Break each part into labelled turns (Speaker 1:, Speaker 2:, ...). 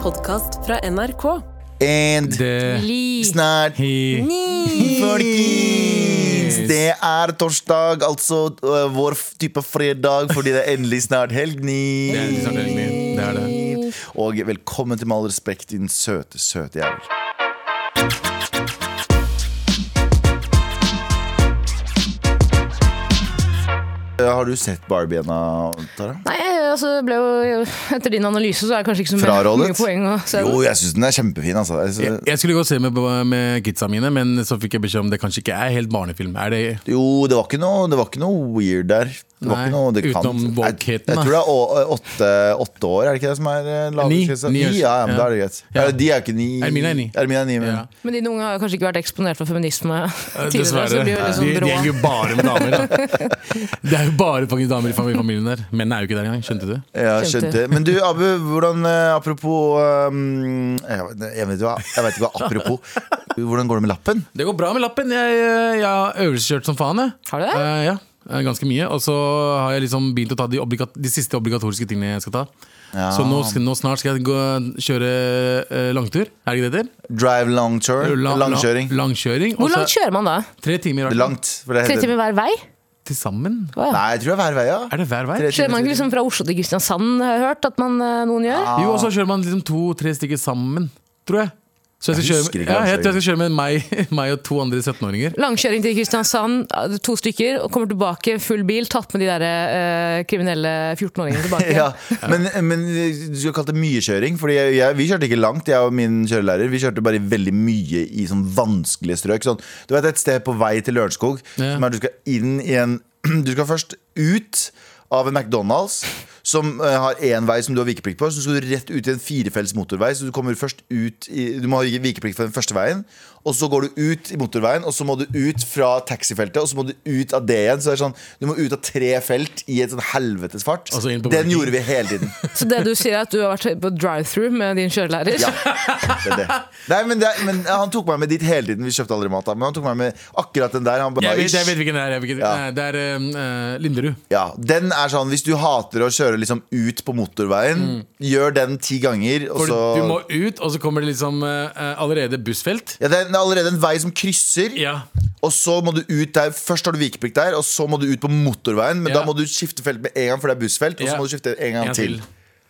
Speaker 1: podkast fra NRK.
Speaker 2: And
Speaker 3: Det
Speaker 1: Li.
Speaker 2: snart,
Speaker 3: Hi.
Speaker 1: Ni.
Speaker 2: folkens! Det er torsdag, altså øh, vår f- type fredag, fordi det er endelig snart helg. ni.
Speaker 3: Det er litt snart helgen min. Det er det.
Speaker 2: Og velkommen til Med all respekt, din søte, søte jævel. Øh, Har du sett Barbie ennå, Tara?
Speaker 4: Nei, altså, det ble jo, etter din analyse så er det kanskje ikke så mye,
Speaker 2: Frarådet?
Speaker 4: mye poeng å se
Speaker 2: Jo,
Speaker 4: den.
Speaker 2: jeg syns den er kjempefin. Altså. Jeg
Speaker 3: Jeg,
Speaker 2: synes-
Speaker 3: jeg skulle gå og se med, med kidsa mine, men så fikk jeg beskjed om det kanskje ikke er helt barnefilm. Er det eh,
Speaker 2: Jo, det var ikke noe, det var ikke noe weird der. Det var
Speaker 3: Nei,
Speaker 2: ikke noe, det kan-
Speaker 3: utenom
Speaker 2: Jeg,
Speaker 3: woke-heten,
Speaker 2: jeg
Speaker 3: da.
Speaker 2: tror det er å- åtte, åtte år, er det ikke det som er eh,
Speaker 3: Ni.
Speaker 2: lavest?
Speaker 3: Ni
Speaker 2: Ni,
Speaker 3: år.
Speaker 2: ja, ja, men
Speaker 3: Ja.
Speaker 2: da er det greit.
Speaker 3: Ja.
Speaker 2: Eller, de er ikke ni.
Speaker 3: Ermina er ni.
Speaker 2: Ermina er ni, men
Speaker 3: ja.
Speaker 4: Men dine unge har jo kanskje ikke vært eksponert for feminisme tidligere. Så
Speaker 3: Eh, Dessverre.
Speaker 4: det blir
Speaker 3: De,
Speaker 4: jo
Speaker 3: de
Speaker 4: litt sånn brå.
Speaker 3: henger jo bare med damer. Da. Det er jo bare faktisk damer i fam- i familien der. Menn er jo ikke der engang. Skjønte du?
Speaker 2: Ja,
Speaker 4: Skjønte.
Speaker 2: skjønte. Men du, Abu, hvordan eh, Apropos um, jeg, vet- jeg vet hva, jeg vet ikke hva apropos Hvordan går det med lappen?
Speaker 3: Det går bra med lappen. Jeg, eh, jeg har øvelseskjørt som faen. Jeg.
Speaker 4: Har du det?
Speaker 3: Eh, ja, eh, ganske mye. Og så har jeg liksom begynt å ta de, obligat de siste obligatoriske tingene jeg skal ta.
Speaker 2: Ja.
Speaker 3: Så nå, skal, nå snart skal jeg gå, kjøre eh, langtur. Er det ikke det det heter?
Speaker 2: Drive long tour?
Speaker 3: La- la-
Speaker 2: Langkjøring?
Speaker 3: Langkjøring.
Speaker 4: Hvor
Speaker 3: Og så-
Speaker 4: langt kjører man da?
Speaker 3: Tre timer i
Speaker 2: Det er
Speaker 3: hvert fall.
Speaker 2: Langt. For det
Speaker 4: Tre
Speaker 2: heter.
Speaker 4: timer hver vei?
Speaker 3: Til sammen?
Speaker 4: Å, ja.
Speaker 2: Nei, jeg tror det er hver vei, ja.
Speaker 3: Er det hver vei?
Speaker 2: Tre
Speaker 4: Kjører
Speaker 2: timer,
Speaker 4: man ikke liksom fra Oslo til Kristiansand, har jeg hørt at man, eh, noen gjør?
Speaker 3: Jo,
Speaker 2: Ah.
Speaker 3: og så kjører man liksom to-tre stykker sammen, tror jeg. Så jeg, skal
Speaker 2: Jeg
Speaker 3: kjøre,
Speaker 2: husker ikke
Speaker 3: ja, jeg
Speaker 2: langkjøring.
Speaker 3: tror jeg skal kjøre med meg, meg og to andre 17-åringer.
Speaker 4: Langkjøring til Kristiansand, eh, to stykker, og kommer tilbake full bil, tatt med de der eh, kriminelle 14-åringene tilbake.
Speaker 2: Ja, men, men du skulle kalt det mye-kjøring. Fordi jeg, jeg, vi kjørte ikke langt, jeg og min kjørelærer. Vi kjørte bare veldig mye i sånn vanskelige strøk. Sånn, du vet et sted på vei til Lørenskog
Speaker 3: Ja.
Speaker 2: som er du skal inn i en Du skal først ut av en McDonald's. Som eh, har én vei som du har vikeplikt på. Så skal du rett ut i en firefelts motorvei. Så Du kommer først ut i, Du må ha vikeplikt for den første veien. Og så går du ut i motorveien, og så må du ut fra taxifeltet. Og så må du ut av det igjen. Så det er sånn, du må ut av tre felt i et sånn helvetes fart.
Speaker 3: Og så Altså inn på
Speaker 2: Den
Speaker 3: parking.
Speaker 2: gjorde vi hele tiden.
Speaker 4: Så det du sier er at du har vært på drive-through med din kjørelærer?
Speaker 2: Ja, det er det. Nei, men, det, er- men han tok meg med dit hele tiden. Vi kjøpte aldri mat, da, men han tok meg med akkurat den der. Han bare,
Speaker 3: Jeg vet, jeg vet hvilken det er. Jeg vet, ikke-
Speaker 2: Ja.
Speaker 3: Nei, det er eh, eh, Linderud.
Speaker 2: Ja, den er sånn, Hvis du hater å kjøre liksom ut på motorveien, gjør den ti ganger. Og
Speaker 3: For
Speaker 2: så,
Speaker 3: Mm. du må ut, og så kommer det liksom eh, eh, allerede bussfelt.
Speaker 2: ja, det er allerede en vei som krysser,
Speaker 3: Ja.
Speaker 2: og så må du ut der. Først har du vikeplikt der, og så må du ut på motorveien. Men
Speaker 3: Ja.
Speaker 2: da må du skifte felt med en gang, for det er bussfelt. Og så
Speaker 3: Ja.
Speaker 2: må du skifte en gang
Speaker 3: En
Speaker 2: til.
Speaker 3: til.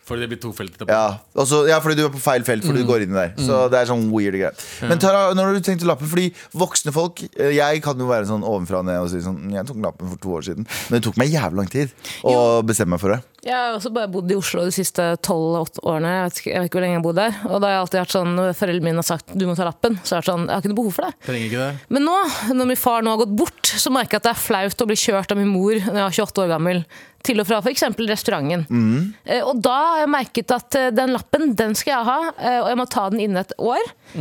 Speaker 3: For det blir to felt etterpå.
Speaker 2: Ja, og så- ja, fordi du er på feil felt, fordi du
Speaker 3: Mm.
Speaker 2: går inn der. Så det er sånn weird greier. Men Tara, når har du tenkte lappen, fordi voksne folk eh, Jeg kan jo være sånn ovenfra og ned og si sånn "Mm, Jeg tok lappen for to år siden, men det tok meg jævlig lang tid å bestemme meg for det.
Speaker 4: Jeg har også bare bodd i Oslo de siste 12-8 årene. Jeg vet, ikke, jeg vet ikke hvor lenge jeg har bodd der. Og da har jeg alltid vært sånn, når foreldrene mine har sagt du må ta lappen, så har jeg vært sånn, jeg har ikke noe behov for det.
Speaker 3: Trenger ikke det.
Speaker 4: Men nå, når min far nå har gått bort, så merker jeg at det er flaut å bli kjørt av min mor når jeg er 28 år gammel. Til og fra f.eks. restauranten. Eh, Og da har jeg merket at eh, den lappen, den skal jeg ha, eh, og jeg må ta den innen et år. Eh,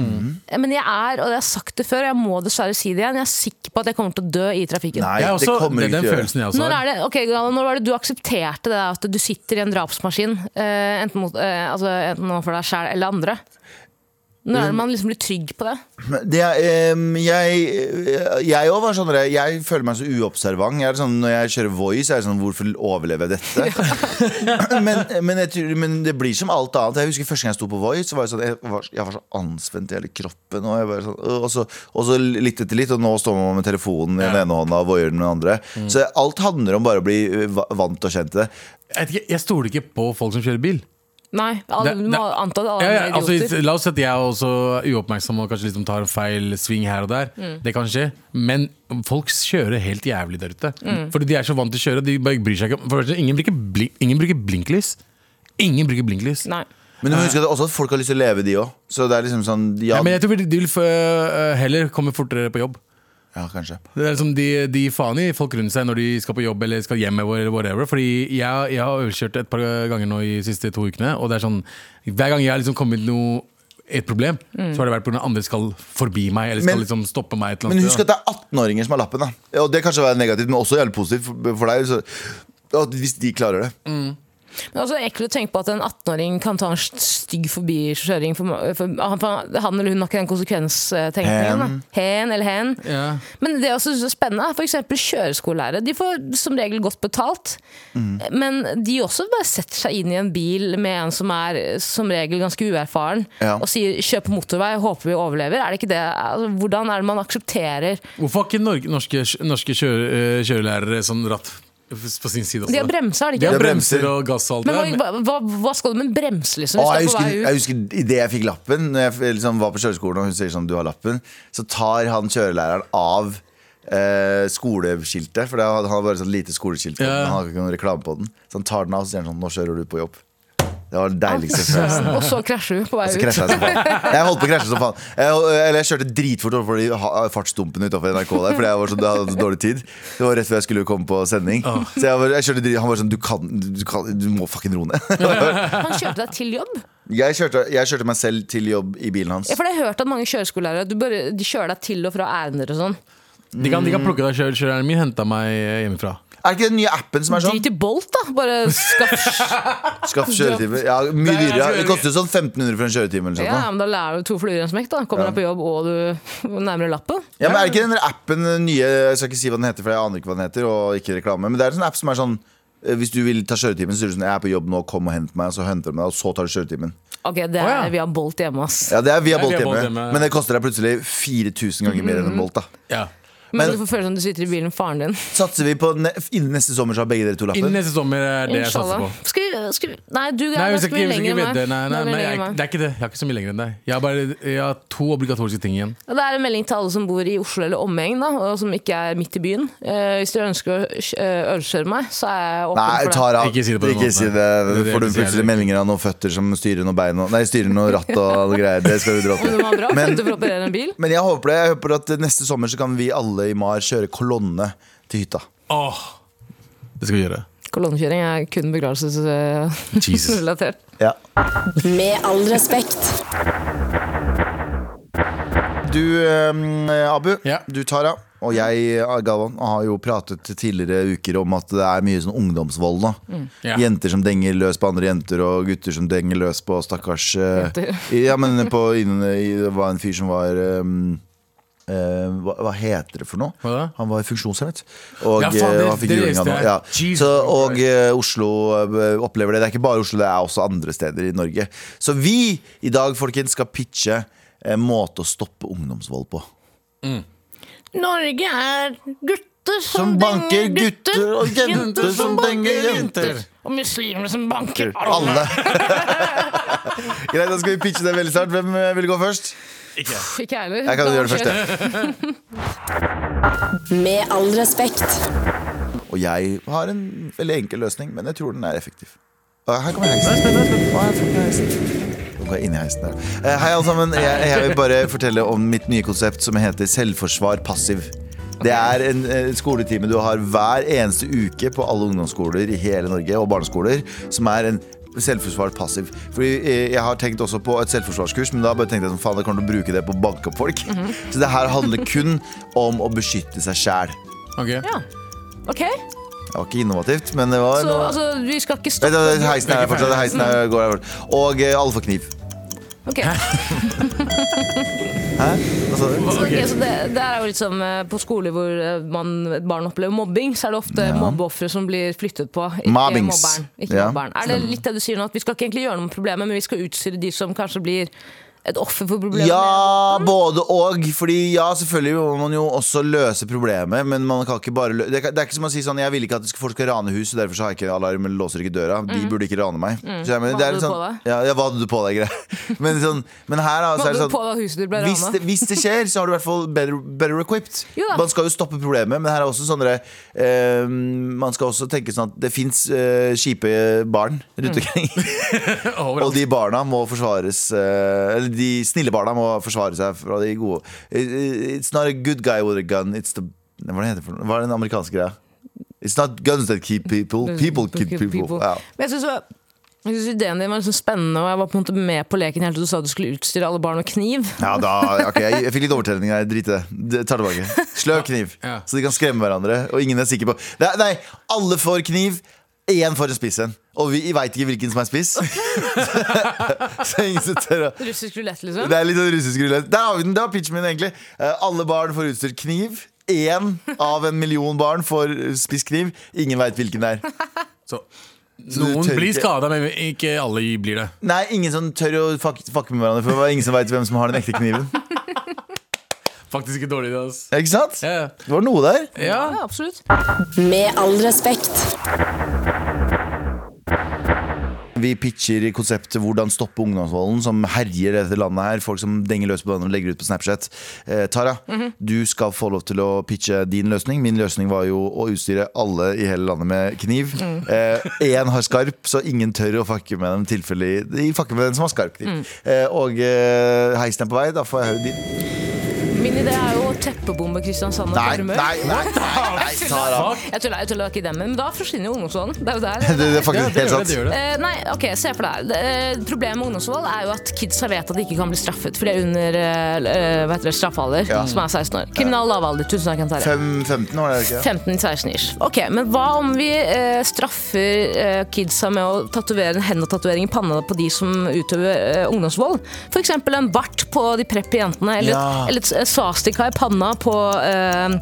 Speaker 4: Men jeg er, og jeg har sagt det før, og jeg må dessverre si det igjen, jeg er sikker på at jeg kommer til å dø i trafikken.
Speaker 2: Nei,
Speaker 3: Jeg er
Speaker 2: det
Speaker 3: også,
Speaker 2: kommer
Speaker 3: det
Speaker 2: du ikke
Speaker 3: er den
Speaker 2: til å gjøre.
Speaker 3: følelsen jeg også
Speaker 4: Når,
Speaker 3: har.
Speaker 4: er det, ok, Gala, når var det du aksepterte det der at du sitter i en drapsmaskin, eh, enten, mot, eh, altså, enten overfor deg sjæl eller andre? Når
Speaker 3: Um,
Speaker 4: er det man liksom blir trygg på det?
Speaker 2: Men Det, er, em, jeg jeg òg var sånn der, Jeg føler meg så uobservant. Jeg er sånn, når jeg kjører Voice, er jeg sånn Hvorfor overlever jeg dette? men, men, jeg, tror- men det blir som alt annet. Jeg husker Første gang jeg sto på Voice, så var jeg, sånn, jeg, var, jeg var så anspent i hele kroppen. Og, jeg var sånn, øh, og, så, og så litt etter litt, og nå står man med telefonen i den
Speaker 3: Ja. Mm.
Speaker 2: ene hånda og voier den med den andre. Så alt handler om bare å bli øh, va- vant og kjent til det.
Speaker 3: Jeg, vet ikke, jeg stoler ikke på folk som kjører bil.
Speaker 4: Nei, alle,
Speaker 3: Det-
Speaker 4: du må
Speaker 3: det-
Speaker 4: anta at alle
Speaker 3: Ja, ja,
Speaker 4: er
Speaker 3: altså,
Speaker 4: idioter.
Speaker 3: la oss si at jeg er også uoppmerksom og kanskje liksom tar en feil sving her og der.
Speaker 4: Mm.
Speaker 3: Det kan skje. Men folk kjører helt jævlig der ute.
Speaker 4: Mm.
Speaker 3: Fordi de er så vant til å kjøre. De bare bryr seg ikke. om- For det første, ingen, bruker bli- ingen bruker blinklys. Ingen bruker blinklys.
Speaker 4: Nei.
Speaker 2: Men du må huske at det er også at folk har lyst til å leve, de òg. Så det er liksom sånn Ja,
Speaker 3: Ja, men jeg tror de de vil øh, heller komme fortere på jobb.
Speaker 2: ja kanskje.
Speaker 3: Det er liksom de, de faen i folk rundt seg når de skal på jobb eller skal hjem. eller whatever Fordi jeg, jeg har øvelseskjørt et par ganger nå i de siste to ukene. Og det er sånn, Hver gang jeg har liksom kommet noe et problem, så har det vært pga. andre skal forbi meg. Eller skal
Speaker 2: Men-
Speaker 3: liksom stoppe meg et eller
Speaker 2: Men
Speaker 3: annet
Speaker 2: husk at det er 18-åringer som har lappen. da Og Det kan kanskje være negativt, men også jævlig positivt for, for deg. Så, at hvis de klarer det.
Speaker 4: Men også ekkelt å tenke på at en 18-åring kan ta en stygg forbikjøring. For, for, for han eller hun har ikke den konsekvenstenkningen. da. Hen eller hen.
Speaker 3: Ja.
Speaker 4: Men det jeg også synes er spennende, er f.eks. kjøreskolelærere. De får som regel godt betalt,
Speaker 2: Mm.
Speaker 4: men de også bare setter seg inn i en bil med en som er som regel ganske uerfaren,
Speaker 2: Ja.
Speaker 4: og sier 'kjøp motorvei, håper vi overlever'. Er det ikke det? Altså, hvordan er det man aksepterer
Speaker 3: Hvorfor har ikke Norge, norske, norske kjøre, eh, kjørelærere sånn ratt på sin side også?
Speaker 4: De har bremser, har de
Speaker 3: De
Speaker 4: ikke?
Speaker 3: har
Speaker 2: De har
Speaker 3: bremser
Speaker 2: bremser.
Speaker 3: og gass og alt
Speaker 4: Men
Speaker 3: det der.
Speaker 4: hva, hva, hva skal du med en bremse, liksom?
Speaker 2: Å,
Speaker 4: Hvis
Speaker 2: jeg
Speaker 4: du er på
Speaker 2: husker,
Speaker 4: vei ut?
Speaker 2: jeg husker Idet jeg fikk lappen, Når jeg f- liksom var på kjøreskolen og hun sier sånn, du har lappen, så tar han kjørelæreren av eh, skoleskiltet. For det hadde- han hadde bare sånn lite skoleskilt, på
Speaker 3: Ja.
Speaker 2: den, han hadde ikke noen reklame på den. Så han tar den av og så sier han sånn, nå kjører du på jobb. Det var den deiligste følelsen.
Speaker 4: Og så krasjer du på vei
Speaker 2: Så
Speaker 4: ut.
Speaker 2: krasja jeg som faen. Jeg holdt på å krasje som faen. Jeg, eller jeg kjørte dritfort overfor de ha- fartsdumpene utafor NRK der, fordi jeg var sånn, jeg hadde så dårlig tid. Det var rett før jeg skulle komme på sending. Så jeg, var, jeg kjørte drit, Han var sånn, du kan, du kan Du må fucking roe ned.
Speaker 4: Han kjørte deg til jobb?
Speaker 2: Jeg kjørte, jeg kjørte meg selv til jobb i bilen hans.
Speaker 4: Ja, for jeg har hørt at mange kjøreskolelærere du bare- De kjører deg til og fra ærender og sånn.
Speaker 3: De kan, de kan plukke deg sjøl. Kjøreren min henta meg eh, hjemmefra.
Speaker 2: Er det ikke den nye appen som er sånn?
Speaker 4: Drit i Bolt, da! Bare skaff
Speaker 2: Skaff kjøretime. Ja, mye
Speaker 3: Nei, jeg
Speaker 2: dyrere.
Speaker 3: tror
Speaker 2: Det
Speaker 3: jeg-
Speaker 2: koster jo sånn 1500 for en kjøretime. Eller
Speaker 4: Ja,
Speaker 2: sånn, da.
Speaker 4: men da lærer du to fluer i en smekk. da Kommer deg på jobb, og du nærmere lappen.
Speaker 2: ja, men Er det ikke den appen den nye Jeg skal ikke si hva den heter, for jeg aner ikke hva den heter. Og ikke reklame Men det er en sånn app som er sånn eh, hvis du vil ta kjøretimen, så sier du sånn 'Jeg er på jobb nå, kom og hent meg.' Og så henter de deg, og så tar du kjøretimen.
Speaker 4: Ok, det er,
Speaker 3: Å, ja.
Speaker 4: Vi har Bolt hjemme, ass.
Speaker 2: Ja, det er via
Speaker 3: Det er
Speaker 2: Bolt
Speaker 3: via Bolt
Speaker 2: hjemme,
Speaker 3: hjemme, ja. Mhm.
Speaker 2: men det koster deg plutselig 4000 ganger mer enn en Bolt. da
Speaker 3: Ja.
Speaker 4: Men,
Speaker 2: Men-
Speaker 4: du får føle som du sitter i bilen med faren din.
Speaker 2: Satser vi på ne innen neste sommer, så har begge dere to lappen?
Speaker 3: Innen neste sommer er det jeg satser
Speaker 4: Inshallah.
Speaker 3: på.
Speaker 4: Skal vi, skal vi Nei, du
Speaker 3: Nei,
Speaker 4: er
Speaker 3: vi skal ikke,
Speaker 4: ganske mye
Speaker 3: vi skal
Speaker 4: lenger
Speaker 3: ikke
Speaker 4: enn meg.
Speaker 3: vedde. Nei, nei,
Speaker 4: Du er mye
Speaker 3: nei, jeg,
Speaker 4: lenger enn meg.
Speaker 3: det er ikke det. Jeg har ikke så mye lenger enn deg. Jeg har bare jeg har to obligatoriske ting igjen.
Speaker 4: Og Det er en melding til alle som bor i Oslo eller omegn, da, og som ikke er midt i byen. Eh, hvis dere ønsker å eh, ølkjøre meg, så er jeg åpen
Speaker 2: Nei,
Speaker 4: for det.
Speaker 2: Tara.
Speaker 3: Ikke si det på den måten,
Speaker 2: si
Speaker 3: nei.
Speaker 2: det.
Speaker 3: Det er det
Speaker 2: Får du
Speaker 3: jeg sier,
Speaker 2: plutselig
Speaker 3: det.
Speaker 2: meldinger av noen føtter som styrer noen bein og Nei, styrer noe ratt og noe greier. Det skal du dra
Speaker 4: Om
Speaker 2: til.
Speaker 4: det var bra,
Speaker 2: Men-
Speaker 4: du får operere en bil.
Speaker 2: Men jeg håper det. Jeg håper at neste sommer så kan vi alle i Mar kjøre kolonne til hytta.
Speaker 3: Åh, det skal vi gjøre.
Speaker 4: Kolonnekjøring er kun
Speaker 3: Jesus.
Speaker 4: begravelsesrelatert.
Speaker 2: Ja.
Speaker 1: Med all respekt.
Speaker 2: Du, eh, Abu,
Speaker 3: Ja.
Speaker 2: du Tara, og jeg, eh, Galvan, har jo pratet tidligere uker om at det er mye sånn ungdomsvold nå.
Speaker 3: Ja.
Speaker 2: Jenter som denger løs på andre jenter, og gutter som denger løs på stakkars eh,
Speaker 4: Jenter.
Speaker 2: Ja, men på, innen, i, det var en fyr som var eh, eh, hva, hva heter det for noe?
Speaker 3: Hva da?
Speaker 2: Han var funksjonshemmet. Og
Speaker 3: Ja, faen, det-
Speaker 2: eh, han fikk
Speaker 3: det
Speaker 2: juling
Speaker 3: leste
Speaker 2: av noe.
Speaker 3: jeg.
Speaker 2: Ja.
Speaker 3: Jesus
Speaker 2: Så, og eh, Oslo eh, opplever det. Det er ikke bare Oslo, det er også andre steder i Norge. Så vi i dag, folkens, skal pitche en måte å stoppe ungdomsvold på.
Speaker 4: Norge er gutter
Speaker 2: Som banker gutter og jenter som denger jenter.
Speaker 4: Og muslimer som banker
Speaker 2: Alle. Greit, da skal vi pitche det veldig snart. Hvem eh, vil gå først?
Speaker 4: Ikke jeg heller.
Speaker 2: Jeg kan gjøre det først, jeg.
Speaker 1: Med all respekt.
Speaker 2: Og jeg har en veldig enkel løsning, men jeg tror den er effektiv. Og Her kommer heisen. Å, her kommer heisen. Nå går jeg inn i heisen der. Eh, Hei, alle sammen. Jeg, jeg vil bare fortelle om mitt nye konsept som heter Selvforsvar passiv. Det er en eh, skoletime du har hver eneste uke på alle ungdomsskoler i hele Norge og barneskoler, som er en selvforsvar passiv. Fordi eh, Jeg har tenkt også på et selvforsvarskurs, men da bare tenkte jeg sånn, faen, jeg kommer til å bruke det på å banke opp folk. Så det her handler kun om å beskytte seg sjæl.
Speaker 3: Ok.
Speaker 4: Ja. Ok,
Speaker 2: Det var ikke innovativt, men det var
Speaker 4: så
Speaker 2: noe-
Speaker 4: altså, vi skal ikke
Speaker 2: Vent,
Speaker 4: stoppe
Speaker 2: vent, vent, heisen er her fortsatt. Heisen er, går her bort. Og eh, alle får kniv.
Speaker 4: Ok,
Speaker 2: Hva sa du?
Speaker 4: Ok, så det, det er jo litt som eh, på skoler hvor eh, man, et barn opplever mobbing, så er det ofte mobbeofre som blir flyttet på. Ikke
Speaker 2: Mobbings.
Speaker 4: mobberen. Ikke
Speaker 2: Ja,
Speaker 4: mobberen. Er det litt det du sier nå, at vi skal ikke egentlig gjøre noe med problemet, men vi skal utstyre de som kanskje blir et offer for problemet?
Speaker 2: Ja, både og. Fordi ja, selvfølgelig må man jo også løse problemet, men man kan ikke bare lø det, kan- det er ikke som å si sånn Jeg vil ikke at folk skal rane hus, og derfor så har jeg ikke alarm eller låser ikke døra. De burde ikke rane meg. Så jeg mener,
Speaker 4: Mm. Hva
Speaker 2: det er
Speaker 4: hadde
Speaker 2: litt
Speaker 4: du
Speaker 2: sånn-
Speaker 4: på deg?
Speaker 2: Ja, ja, hva hadde du på deg, greit. Men, sånn, men her, da, så
Speaker 4: Hva
Speaker 2: er det
Speaker 4: hadde du
Speaker 2: sånn
Speaker 4: på da huset ditt ble
Speaker 2: hvis
Speaker 4: rana?
Speaker 2: det, hvis det skjer, så har du i hvert fall better, better equipped.
Speaker 4: Jo da.
Speaker 2: Man skal jo stoppe problemet, men her er også sånn dere, eh, Man skal også tenke sånn at det fins eh, kjipe barn
Speaker 4: Mm.
Speaker 2: rundt omkring. og de barna må forsvares eh, Eller de snille barna må forsvare seg fra de gode. Eh, It's not a good guy with a gun, it's the Hva er det heter for noe? Hva er den amerikanske greia? It's not guns that keep people,
Speaker 4: Mm,
Speaker 2: people keep people. Ja.
Speaker 4: Men jeg synes det var- jeg synes ideen din var liksom spennende, og jeg var på en måte med på leken helt til du sa du skulle utstyre alle barn med kniv.
Speaker 2: Ja, da, ok, jeg, jeg fikk litt overtenning her. Drit i det. det. Tar tilbake. Sløv kniv,
Speaker 3: Ja.
Speaker 2: så de kan skremme hverandre. Og ingen er sikker på Nei, nei alle får kniv. Én får en spiss en. Og vi veit ikke hvilken som er spiss. så ingen som tør å
Speaker 4: Russisk rulett, liksom.
Speaker 2: Det er litt sånn russisk rulett. Der har vi den, det var pitchen min, egentlig. Eh, alle barn får utstyrt kniv. Én av en million barn får eh, spiss kniv. Ingen veit hvilken det er.
Speaker 3: Så
Speaker 2: Så du
Speaker 3: noen
Speaker 2: tør
Speaker 3: blir
Speaker 2: ikke-
Speaker 3: skada, men ikke alle blir det.
Speaker 2: Nei, ingen som tør å fuck- fucke med hverandre, for det var ingen som veit hvem som har den ekte kniven.
Speaker 3: Faktisk ikke dårlig, det. Altså.
Speaker 2: Ikke sant?
Speaker 3: Ja.
Speaker 2: Det var noe der.
Speaker 3: ja.
Speaker 4: Ja, absolutt.
Speaker 1: Med all respekt.
Speaker 2: Vi pitcher i konseptet hvordan stoppe ungdomsvolden som herjer i dette landet her. Folk som denger løs på hverandre og legger ut på Snapchat. Eh, Tara, du skal få lov til å pitche din løsning. Min løsning var jo å utstyre alle i hele landet med kniv. Én har skarp, så ingen tør å fucke med dem tilfellig. De fucker med den som har skarp kniv. Eh, og eh, heis den på vei, da får jeg høre din.
Speaker 4: Min idé er jo å teppebombe Kristiansand og
Speaker 2: Nei,
Speaker 4: Karmøy.
Speaker 2: nei, nei, nei, nei Tara.
Speaker 4: Jeg tuller, jeg tuller ikke i den, men da forsvinner jo ungdomsvolden. Det er jo der.
Speaker 2: Det, det er
Speaker 3: Ja,
Speaker 2: faktisk helt
Speaker 3: det gjør det,
Speaker 2: sant.
Speaker 3: det gjør det.
Speaker 4: Eh, nei, ok, se for deg. Eh, problemet med ungdomsvold er jo at kidsa vet at de ikke kan bli straffet, for de er under eh, eh, hva heter det, straffaler,
Speaker 2: Ja.
Speaker 4: som er 16 år. Kriminal lavalder. Tusen takk, Kantare.
Speaker 2: Fem- 15 år, er det ikke?
Speaker 4: 15-16 ish. Ok, men hva om vi eh, straffer eh, kidsa med å tatovere en hendetatovering i panna på de som utøver eh, ungdomsvold? For eksempel en bart på de preppy jentene, eller,
Speaker 2: Ja.
Speaker 4: et, eller et s- eh, svastika i panna på eh,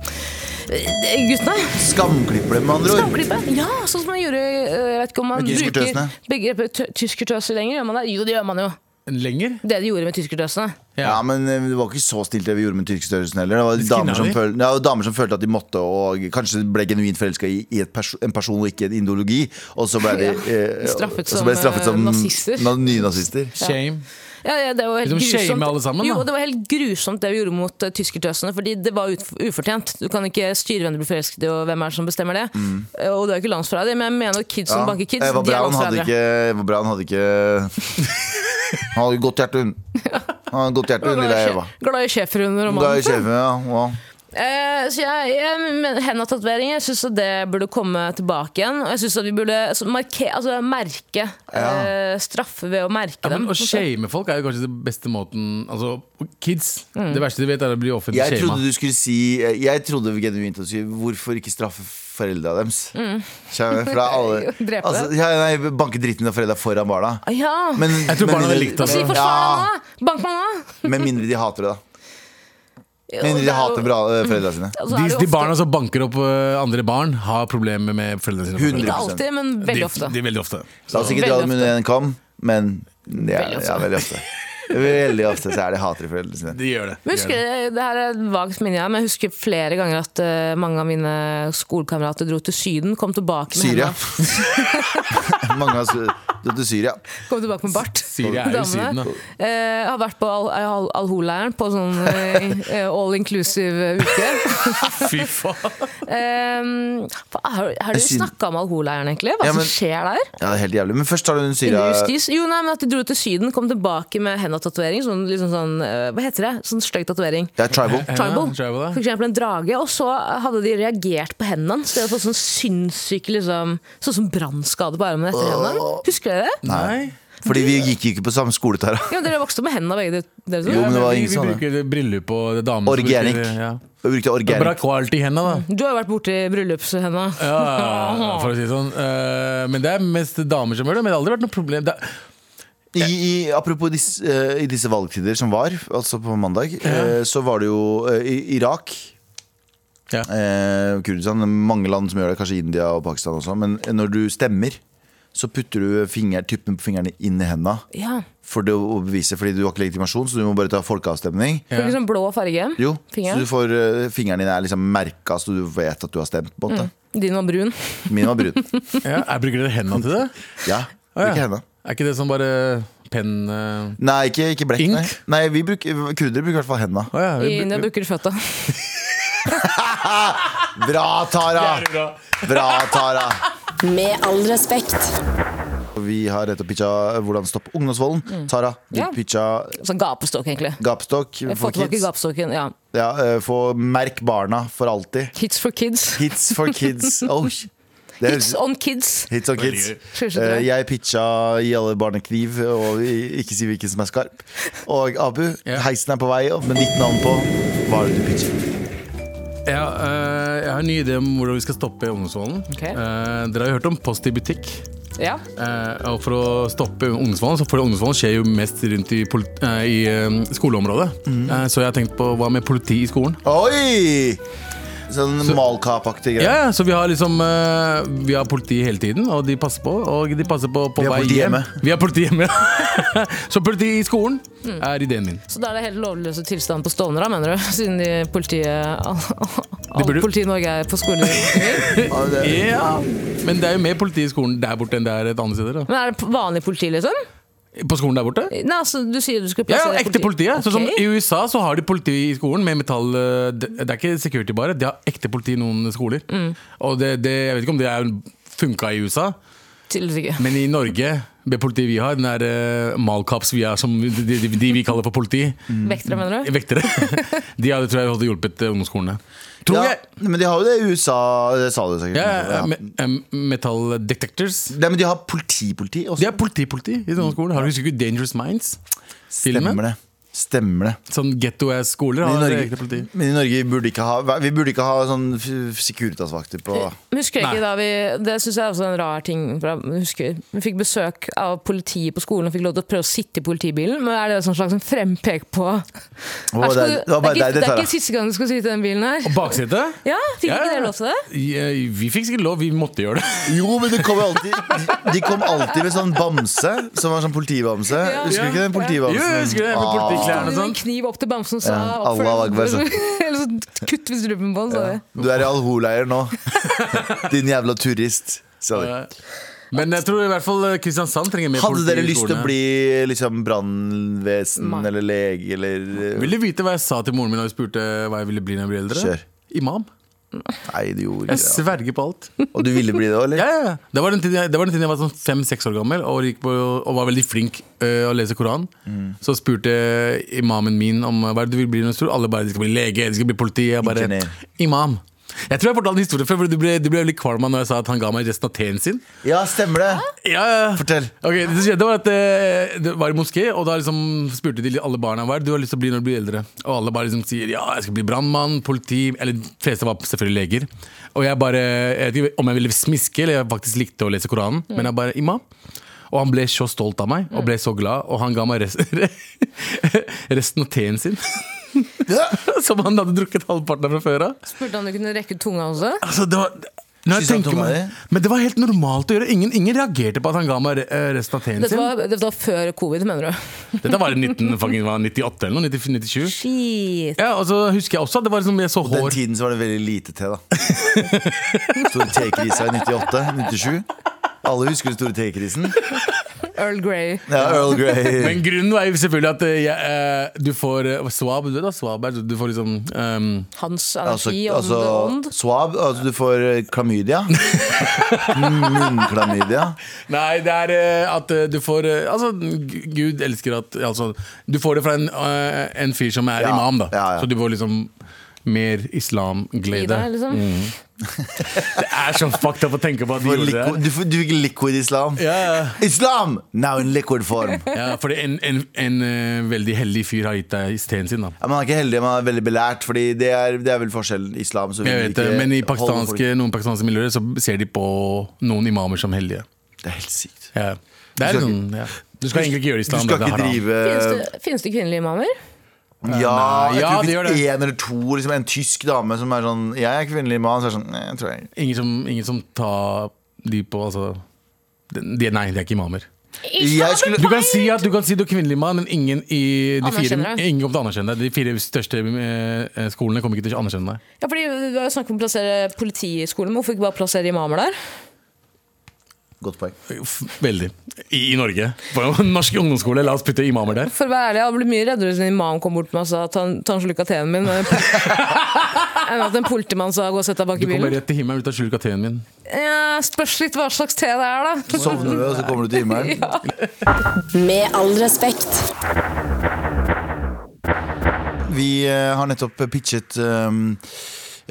Speaker 4: guttene.
Speaker 2: Skamklipper det, med andre ord.
Speaker 4: Skamklippe. Ja, sånn som man gjorde eh, Jeg vet ikke om man
Speaker 2: Med
Speaker 4: bruker
Speaker 2: tyskertøsene.
Speaker 4: begrepet tø- tyskertøser lenger. Gjør man det? Jo, det gjør man jo.
Speaker 3: Lenger?
Speaker 4: Det de gjorde med tyskertøsene.
Speaker 2: Ja, men eh, det var ikke så stilt det vi gjorde med tyrkestørrelsen heller. Det var,
Speaker 3: Litt
Speaker 2: damer som,
Speaker 3: kvinnelige.
Speaker 2: føl ja, det var damer som følte at de måtte, og kanskje ble genuint forelska i, i et perso en person og ikke en ideologi. Og så ble de eh,
Speaker 4: straffet
Speaker 2: og så ble de
Speaker 4: som,
Speaker 2: straffet som
Speaker 4: eh, nazister.
Speaker 2: na- nynazister.
Speaker 3: Shame.
Speaker 4: Ja, ja, det var helt
Speaker 3: Liksom shame
Speaker 4: grusomt.
Speaker 3: alle sammen, da.
Speaker 4: jo, det var helt grusomt det vi gjorde mot eh, tyskertøsene, fordi det var ut, ufortjent. Du kan ikke styre hvem du blir forelsket i, og hvem er det som bestemmer det.
Speaker 3: Mm.
Speaker 4: Eh, Og du er jo ikke landsforræder, men jeg mener at kids som banker kids,
Speaker 2: Eh, Eva
Speaker 4: de er
Speaker 2: Braun hadde
Speaker 4: landsforrædere.
Speaker 2: ikke Eva Braun hadde ikke Han hadde godt hjerte, hun. Han hadde godt hjerte, hun lille Eva.
Speaker 4: Glad i schæferhunder og
Speaker 2: Hun ga jo
Speaker 4: mann.
Speaker 2: kjefen, ja. ja.
Speaker 4: Eh, så jeg, jeg men Hendetatoveringer, jeg syns det burde komme tilbake igjen. Og jeg syns at vi burde altså, marke, altså, merke
Speaker 2: Ja.
Speaker 4: eh, straffe ved å merke
Speaker 3: Ja, men
Speaker 4: dem.
Speaker 3: Å shame folk er jo kanskje den beste måten Altså, kids
Speaker 4: Mm.
Speaker 3: Det verste de vet, er å bli offentlig
Speaker 2: Jeg
Speaker 3: shama.
Speaker 2: trodde du skulle si Jeg trodde genuint at du skulle si Hvorfor ikke straffe foreldra deres? Skjønner du? For det er alle
Speaker 4: Mm. Drepe.
Speaker 2: altså, ja, Nei, banke dritten av foreldra foran barna.
Speaker 4: Ja!
Speaker 2: Men,
Speaker 3: Jeg tror
Speaker 2: med
Speaker 3: barna hadde
Speaker 2: mindre-
Speaker 3: likt oss.
Speaker 4: si
Speaker 3: Ja.
Speaker 4: forsvar deg nå! Bank meg nå!
Speaker 2: Med mindre de hater det, da.
Speaker 4: Jo,
Speaker 2: Med mindre
Speaker 4: det er
Speaker 2: de
Speaker 4: jo-
Speaker 2: hater bra, eh, foreldra sine.
Speaker 4: altså,
Speaker 3: De,
Speaker 4: er det jo
Speaker 3: de
Speaker 4: ofte-
Speaker 3: barna som banker opp eh, andre barn, har problemer med foreldrene sine.
Speaker 2: 100%.
Speaker 4: Ikke alltid, men veldig ofte.
Speaker 3: De, de, veldig ofte.
Speaker 2: La oss ikke dra dem under en kam, men det er,
Speaker 4: Veldig ofte.
Speaker 2: ja, veldig ofte. Veldig ofte så er de hater foreldrene sine.
Speaker 3: De gjør det.
Speaker 4: Men husker, jeg- det her er et vagt minne jeg har, men jeg husker flere ganger at eh, mange av mine skolekamerater dro til Syden, kom tilbake med,
Speaker 2: Syria.
Speaker 4: hendene-
Speaker 2: Mange av oss dro til Syria.
Speaker 4: kom tilbake med bart.
Speaker 3: Syria er jo Syden, da.
Speaker 4: Damene. Eh, jeg har vært på Al- Al- Al-Hol-leiren på sånn eh, all inclusive uke.
Speaker 3: Fy faen.
Speaker 4: Eh, hva er, har dere
Speaker 2: Syden.
Speaker 4: snakka om Al-Hol-leiren, egentlig? Hva
Speaker 2: Ja, men-
Speaker 4: som skjer der?
Speaker 2: Ja, det er helt jævlig. Men først tar du den Syria.
Speaker 4: Indre justis? Jo, nei, men at de dro til Syden, kom tilbake med henda-tatovering. Sånn, liksom sånn, eh, hva heter det? Sånn stygg tatovering.
Speaker 2: Det er tribal.
Speaker 4: Tribal.
Speaker 3: Ja, tribal, ja.
Speaker 4: For eksempel en drage. Og så hadde de reagert på hendene hans. De hadde fått sånn sinnssyke liksom, Sånn som brannskade på armen etter hendene. Husker dere det?
Speaker 3: Nei.
Speaker 2: Fordi vi gikk jo ikke på samme skole, Tara.
Speaker 4: Ja, dere vokste opp med hendene begge dere- dere
Speaker 2: Jo,
Speaker 4: to.
Speaker 2: men det var
Speaker 3: vi-
Speaker 2: ingen sånne.
Speaker 3: Vi bruker bryllup og damer som
Speaker 2: Organic.
Speaker 3: bruker- Ja.
Speaker 2: Vi brukte
Speaker 3: Det er Bra
Speaker 2: organic.
Speaker 3: kvalitet i hendene, da.
Speaker 4: Du har jo vært borti bryllupshenda.
Speaker 3: Ja, ja, ja, for å si det sånn. Eh, Men det er mest damer som gjør det. Men det har aldri vært noe problem. Det er,
Speaker 2: I, i, apropos disse, eh, i disse valgtider som var, altså på mandag, eh, så var det jo eh, i Irak
Speaker 3: Ja.
Speaker 2: eh, Kurdistan, mange land som gjør det, kanskje India og Pakistan også, men når du stemmer, så putter du finger, typpen på fingrene inn i hendene
Speaker 4: Ja.
Speaker 2: for det å bevise, fordi du har ikke legitimasjon, så du må bare ta folkeavstemning.
Speaker 4: Får ikke sånn blå farge.
Speaker 2: Jo,
Speaker 4: Fingeren?
Speaker 2: så du får, eh, fingeren din er liksom merka, så du vet at du har stemt. på en måte.
Speaker 4: Din var brun.
Speaker 2: Min var brun.
Speaker 3: ja, jeg bruker dere hendene til det?
Speaker 2: Ja,
Speaker 3: Å, ja.
Speaker 2: ikke henne.
Speaker 3: Er ikke det som bare penn eh,
Speaker 2: Nei, ikke, ikke blekk.
Speaker 3: Ink?
Speaker 2: Nei, nei vi bruker, kurdere bruker i hvert fall hendene.
Speaker 3: Å ja.
Speaker 4: I
Speaker 3: vi-
Speaker 4: India bruker du føtta.
Speaker 2: Bra, Tara! Bra, Tara!
Speaker 1: Med all respekt.
Speaker 2: Vi har rett og pitcha hvordan stoppe ungdomsvolden. Tara, du
Speaker 4: Mm. Ja.
Speaker 2: pitcha
Speaker 4: Sånn gapestokk, egentlig.
Speaker 2: gapstokk
Speaker 4: Få
Speaker 2: for
Speaker 4: tilbake
Speaker 2: kids.
Speaker 4: gapestokken. Ja.
Speaker 2: Ja, eh, få merk barna for alltid.
Speaker 4: Kids for kids.
Speaker 2: Hits for kids. Oh, sh- det
Speaker 4: Hits
Speaker 2: høres-
Speaker 4: on kids.
Speaker 2: Hits on kids.
Speaker 3: Veldig
Speaker 4: gøy.
Speaker 2: Eh, jeg pitcha gi alle barna kniv, og i- ikke si hvilken som er skarp. Og Abu,
Speaker 3: Ja.
Speaker 2: heisen er på vei opp med ditt navn på. Hva er det du pitcher?
Speaker 3: Jeg, eh, jeg har en ny idé om hvordan vi skal stoppe ungdomsvolden.
Speaker 4: Ok.
Speaker 3: Eh, dere har jo hørt om Post i butikk.
Speaker 4: Ja.
Speaker 3: Eh, og for å stoppe ungdomsvolden, så for ungdomsvolden skjer jo mest rundt i, polit- eh, i eh, skoleområdet.
Speaker 2: Mhm.
Speaker 3: Eh, så jeg har tenkt på hva med politi i skolen?
Speaker 2: Oi! Sånn malkapaktig
Speaker 3: Ja,
Speaker 2: greie.
Speaker 3: ja, så vi har liksom eh, Vi har politi hele tiden, og de passer på. Og de passer på på
Speaker 2: Vi har
Speaker 3: vei
Speaker 2: politi
Speaker 3: hjem.
Speaker 2: hjemme.
Speaker 3: Vi har politi hjemme. ja. så politi i skolen er ideen min.
Speaker 4: Så da er det helt lovløse tilstand på Stovner, da, mener du? Siden de politiet all,
Speaker 3: Det burde-
Speaker 4: all politi i Norge er på skolen.
Speaker 2: Ja, det-
Speaker 3: Ja, Men det er jo mer politi i skolen der borte enn det er et annet sted. Da.
Speaker 4: Men er det vanlig politi, liksom?
Speaker 3: På skolen der borte?
Speaker 4: Nei, altså, du sier du skulle
Speaker 3: Ja,
Speaker 4: plassere
Speaker 3: ja, ekte politi. Ja.
Speaker 4: Ok.
Speaker 3: Sånn som I USA så har de politi i skolen med metall eh, Det det er ikke security bare, de har ekte politi i noen skoler.
Speaker 4: Mm.
Speaker 3: Og det, det, jeg vet ikke om det er funka i USA,
Speaker 4: Tydeligvis ikke.
Speaker 3: men i Norge det politiet vi har, den der eh, malkaps vi har, som de, de, de vi kaller for politi,
Speaker 4: Vektere, mener du?
Speaker 3: vektere, de hadde tror jeg hadde hjulpet eh, ungdomsskolene. Tror
Speaker 2: Ja,
Speaker 3: jeg!
Speaker 2: men de har jo det i USA. Det sa du sikkert.
Speaker 3: Ja, ja,
Speaker 2: Ja.
Speaker 3: me, eh, metal detectors.
Speaker 2: Nei, men de har politi-politi også.
Speaker 3: De er politi-politi i noen skoler. Har du husket ikke Dangerous Minds?
Speaker 2: Stemmer det. Stemmer det.
Speaker 3: Sånn ghetto-ass-skoler
Speaker 2: Men i,
Speaker 3: har ekte politi.
Speaker 2: Norge, men i Norge burde ikke ha, vi burde ikke ha sånn f- Securitas-vakter på
Speaker 4: Husker jeg
Speaker 3: Nei.
Speaker 4: ikke da vi Det syns jeg er også en rar ting. fra- Husker, vi fikk besøk av politiet på skolen og fikk lov til å prøve å sitte i politibilen. Men er det en sånn slags frempek på Her
Speaker 2: Å,
Speaker 4: skal
Speaker 2: det,
Speaker 4: du-
Speaker 2: er- det var bare
Speaker 4: det,
Speaker 2: deg
Speaker 4: er ikke,
Speaker 2: det,
Speaker 4: det er
Speaker 2: Tara.
Speaker 4: ikke siste gang du skal sitte i den bilen her.
Speaker 3: Baksetet?
Speaker 4: Ja, Fikk
Speaker 3: Ja,
Speaker 4: ikke
Speaker 3: ja.
Speaker 4: dere lov til det?
Speaker 3: Ja, vi fikk sikkert lov, vi måtte gjøre det.
Speaker 2: Jo, men det kom jo alltid, de, de kom alltid med sånn bamse, som var sånn politibamse. Husker du ikke den politibamsen?
Speaker 3: Jo, jeg husker det, med politiklærne og
Speaker 4: Med en
Speaker 3: sånn.
Speaker 4: kniv opp til bamsen og sa
Speaker 2: Ja,
Speaker 4: oppfør
Speaker 2: Allah
Speaker 4: deg.
Speaker 2: Akbar, så.
Speaker 4: Eller så kutt ved strupen på han, sa de.
Speaker 2: Du er i Al-Hol-leir nå. Din jævla turist. sa de.
Speaker 3: Men jeg tror i hvert fall eh, Kristiansand trenger mer
Speaker 2: Hadde
Speaker 3: politi
Speaker 2: dere
Speaker 3: i
Speaker 2: lyst til å
Speaker 3: skolene.
Speaker 2: bli liksom brannvesen
Speaker 4: Nei.
Speaker 2: eller lege eller
Speaker 3: Vil du vite hva jeg sa til moren min da jeg spurte hva jeg ville bli når jeg ble eldre?
Speaker 2: Kjør.
Speaker 3: Imam.
Speaker 2: Nei, du gjorde
Speaker 3: Jeg
Speaker 2: ikke det.
Speaker 3: sverger på alt.
Speaker 2: Og du ville bli det òg, eller?
Speaker 3: Ja, ja, ja. Det var den tiden jeg, det var den tiden jeg var sånn fem-seks år gammel og, gikk på, og var veldig flink øh, å lese Koran.
Speaker 2: Mm.
Speaker 3: Så spurte imamen min om øh, hva er det du vil bli når du er stor. Alle bare de skal bli lege, de skal bli politi. Jeg bare,
Speaker 2: Ingeniør.
Speaker 3: Imam. Jeg tror jeg fortalte en historie før, for du ble, du ble veldig kvalm av når jeg sa at han ga meg resten av teen sin.
Speaker 2: Ja, stemmer det.
Speaker 3: Ja, ja.
Speaker 2: Fortell.
Speaker 3: Ok, Det som skjedde var at eh, det var i moské, og da liksom spurte de alle barna hva er det du har lyst til å bli når du blir eldre. Og alle bare liksom sier ja, jeg skal bli brannmann, politi Eller de fleste var selvfølgelig leger. Og jeg bare Jeg vet ikke om jeg ville smiske, eller jeg faktisk likte å lese Koranen,
Speaker 4: Mm.
Speaker 3: men jeg bare imam. Og han ble så stolt av meg, og ble så glad, og han ga meg res resten av teen sin. Som han hadde drukket halvparten av fra før av.
Speaker 4: Spurte han om du kunne rekke ut tunga også.
Speaker 3: Altså, det var når jeg
Speaker 2: Synes han
Speaker 3: tenker
Speaker 2: tok meg
Speaker 3: meg, men det var helt normalt å gjøre. Ingen, ingen reagerte på at han ga meg re- eh, resten av teen
Speaker 4: Dette
Speaker 3: sin.
Speaker 4: var, dette var før covid, mener du?
Speaker 3: Dette var i 19, fucking, var 98 eller noe, 90, 97.
Speaker 4: Shit.
Speaker 3: Ja, og så husker jeg også at det var liksom, jeg så
Speaker 2: Den
Speaker 3: hår.
Speaker 2: tiden så var det veldig lite til, da. Store tekrisa i 98, 97. Alle husker den store tekrisen.
Speaker 4: Earl Grey.
Speaker 2: Ja, Earl Grey.
Speaker 3: Men grunnen var jo selvfølgelig at eh, jeg, eh, du får eh, swab. Du vet da, swab er, du får liksom ehm,
Speaker 4: Hans
Speaker 2: Altså,
Speaker 4: anarki og
Speaker 2: altså
Speaker 4: ånd.
Speaker 2: swab. Altså, du får eh, klamydia. Munnklamydia.
Speaker 3: Nei, det er eh, at eh, du får eh, Altså, G- Gud elsker at altså, Du får det fra en, eh, en fyr som er
Speaker 2: Ja,
Speaker 3: imam, da.
Speaker 2: ja, ja.
Speaker 3: Så du får liksom mer
Speaker 4: I deg,
Speaker 3: islamglede.
Speaker 4: liksom.
Speaker 3: Det er så fucked up å tenke på at
Speaker 2: Du,
Speaker 3: de
Speaker 2: får
Speaker 3: gjorde det.
Speaker 2: liquid, du, får, du fikk liquid islam.
Speaker 3: Ja, ja.
Speaker 2: Islam! Now in liquid form.
Speaker 3: Ja, fordi en, en, en eh, veldig heldig fyr har gitt deg teen sin, da.
Speaker 2: Ja, man er ikke heldig, man er veldig belært, Fordi det er, det er vel forskjellen. Islam så vil
Speaker 3: Jeg vet
Speaker 2: ikke
Speaker 3: det, men i
Speaker 2: holde
Speaker 3: pakistanske,
Speaker 2: folk-
Speaker 3: noen pakistanske miljøer så ser de på noen imamer som hellige.
Speaker 2: Det er helt sykt.
Speaker 3: Ja. Det er
Speaker 2: Du skal
Speaker 3: sånn, ja. Du skal egentlig ikke gjøre
Speaker 2: Du skal
Speaker 3: islam. det er
Speaker 2: ikke
Speaker 3: haram.
Speaker 2: drive
Speaker 4: Finnes
Speaker 2: Eh.
Speaker 4: det, finnes det kvinnelige imamer?
Speaker 2: Ja, eh, jeg
Speaker 3: ja,
Speaker 2: tror
Speaker 3: det
Speaker 2: det
Speaker 3: gjør
Speaker 2: finnes
Speaker 3: det.
Speaker 2: én eller to. Liksom, en tysk dame som er sånn Jeg er kvinnelig mann. Så er jeg sånn, nei, jeg tror jeg
Speaker 3: Ingen som, ingen som tar de på altså, de, Nei, det er ikke imamer.
Speaker 2: Jeg skulle-
Speaker 3: Du kan si at du, kan si du er kvinnelig mann, men ingen, i de fire,
Speaker 4: Anerkjenner det.
Speaker 3: ingen kommer til å anerkjenne deg. De fire største eh, skolene kommer ikke til å anerkjenne deg.
Speaker 4: Ja, fordi Du har jo snakket om å plassere politi i skolen, men hvorfor ikke bare plassere imamer der?
Speaker 2: Godt poeng.
Speaker 3: F- Veldig. I, i Norge. På en norsk ungdomsskole, la oss putte imamer der.
Speaker 4: For å være ærlig, Jeg hadde blitt mye reddere hvis en imam kom bort til meg og sa ta ta en slurk av teen min, enn at en politimann sa gå og sett deg bak
Speaker 3: Du
Speaker 4: i
Speaker 3: kommer
Speaker 4: bilen.
Speaker 3: rett til himmelen ut av skjulkateen min.
Speaker 4: Ja, spørs litt hva slags te det er, da.
Speaker 2: Sovner du, og så kommer du til himmelen?
Speaker 1: Med all respekt.
Speaker 2: Vi eh, har nettopp pitchet um,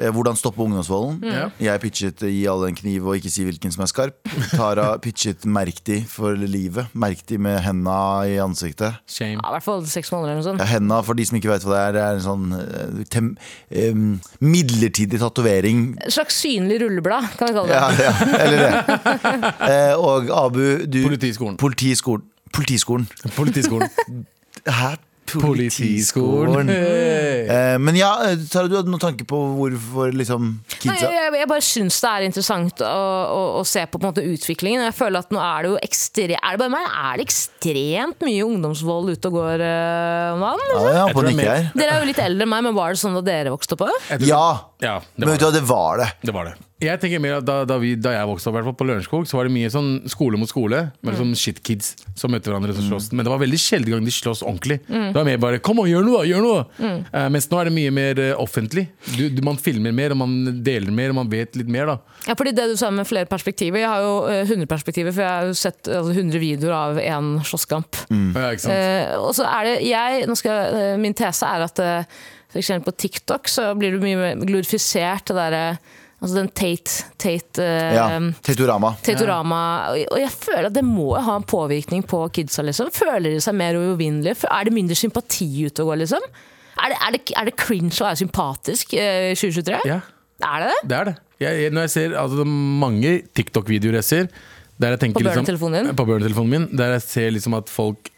Speaker 2: eh, Hvordan stoppe ungdomsvolden.
Speaker 3: Ja.
Speaker 2: Jeg pitchet eh, gi alle en kniv og ikke si hvilken som er skarp. Tara pitchet merk de for livet. Merk de med henda i ansiktet.
Speaker 3: Shame.
Speaker 4: Ja, I hvert fall seks måneder eller noe sånt.
Speaker 2: Ja, henda, for de som ikke vet hva det er, det er en sånn eh, tem, eh, midlertidig tatovering
Speaker 4: Et slags synlig rulleblad, kan vi kalle det.
Speaker 2: Ja, ja, eller det. Eh, og Abu, du
Speaker 3: Politiskolen.
Speaker 2: Politiskolen. Politiskolen.
Speaker 3: Politiskolen.
Speaker 2: Hæ?
Speaker 3: Politiskolen. Hey.
Speaker 2: Eh, men ja, eh, Tara, du hadde noen tanke på hvorfor liksom
Speaker 4: Nei,
Speaker 2: kidsa
Speaker 4: jeg, jeg bare syns det er interessant å, å, å se på, på en måte, utviklingen. Og Jeg føler at nå er det jo ekstre, er det bare meg, er det ekstremt mye ungdomsvold ute og går eh, om dagen?
Speaker 2: Ja, ja, på
Speaker 3: Jeg tror det er
Speaker 2: nikke
Speaker 3: mer-
Speaker 2: her.
Speaker 4: Dere er jo litt eldre enn meg, men var det sånn da dere vokste opp òg?
Speaker 3: Jeg tror-
Speaker 2: Ja!
Speaker 3: ja det
Speaker 2: Men
Speaker 3: var
Speaker 2: vet du
Speaker 3: det.
Speaker 2: hva, det var det.
Speaker 3: det, var det. Jeg tenker mer at da, da, vi, da jeg vokste opp, i hvert fall på Lørenskog, så var det mye sånn skole mot skole. Med sånn shitkids som møtte hverandre og slåss. Men det var veldig sjelden gang de slåss ordentlig. Det var mer bare 'kom og gjør noe', da, gjør noe! Eh, mens nå er det mye mer eh, offentlig. Du, du, man filmer mer, og man deler mer, og man vet litt mer, da.
Speaker 4: Ja, fordi det du sa med flere perspektiver Jeg har jo eh, 100 perspektiver, for jeg har jo sett altså, 100 videoer av én slåsskamp.
Speaker 2: Mm.
Speaker 3: Ja, ikke sant?
Speaker 4: Eh, og så er det jeg, nå skal, jeg- eh, Min tese er at eh, for eksempel på TikTok så blir du mye mer glorifisert det derre Altså den Tate, Tate eh,
Speaker 2: Ja, Tetorama.
Speaker 4: Tetorama. Og- Og jeg føler at det må ha en påvirkning på kidsa. liksom. Føler de seg mer uovervinnelige? F- Er det mindre sympati ute og går, liksom? Er det, er, det, er det cringe å være sympatisk eh, i 2023?
Speaker 3: Ja,
Speaker 4: Er det det?
Speaker 3: det er det. Jeg, jeg, når jeg ser altså, det er mange TikTok-videoer jeg ser der jeg tenker,
Speaker 4: På
Speaker 3: liksom,
Speaker 4: børnetelefonen din?
Speaker 3: På børnetelefonen min. Der jeg ser liksom at folk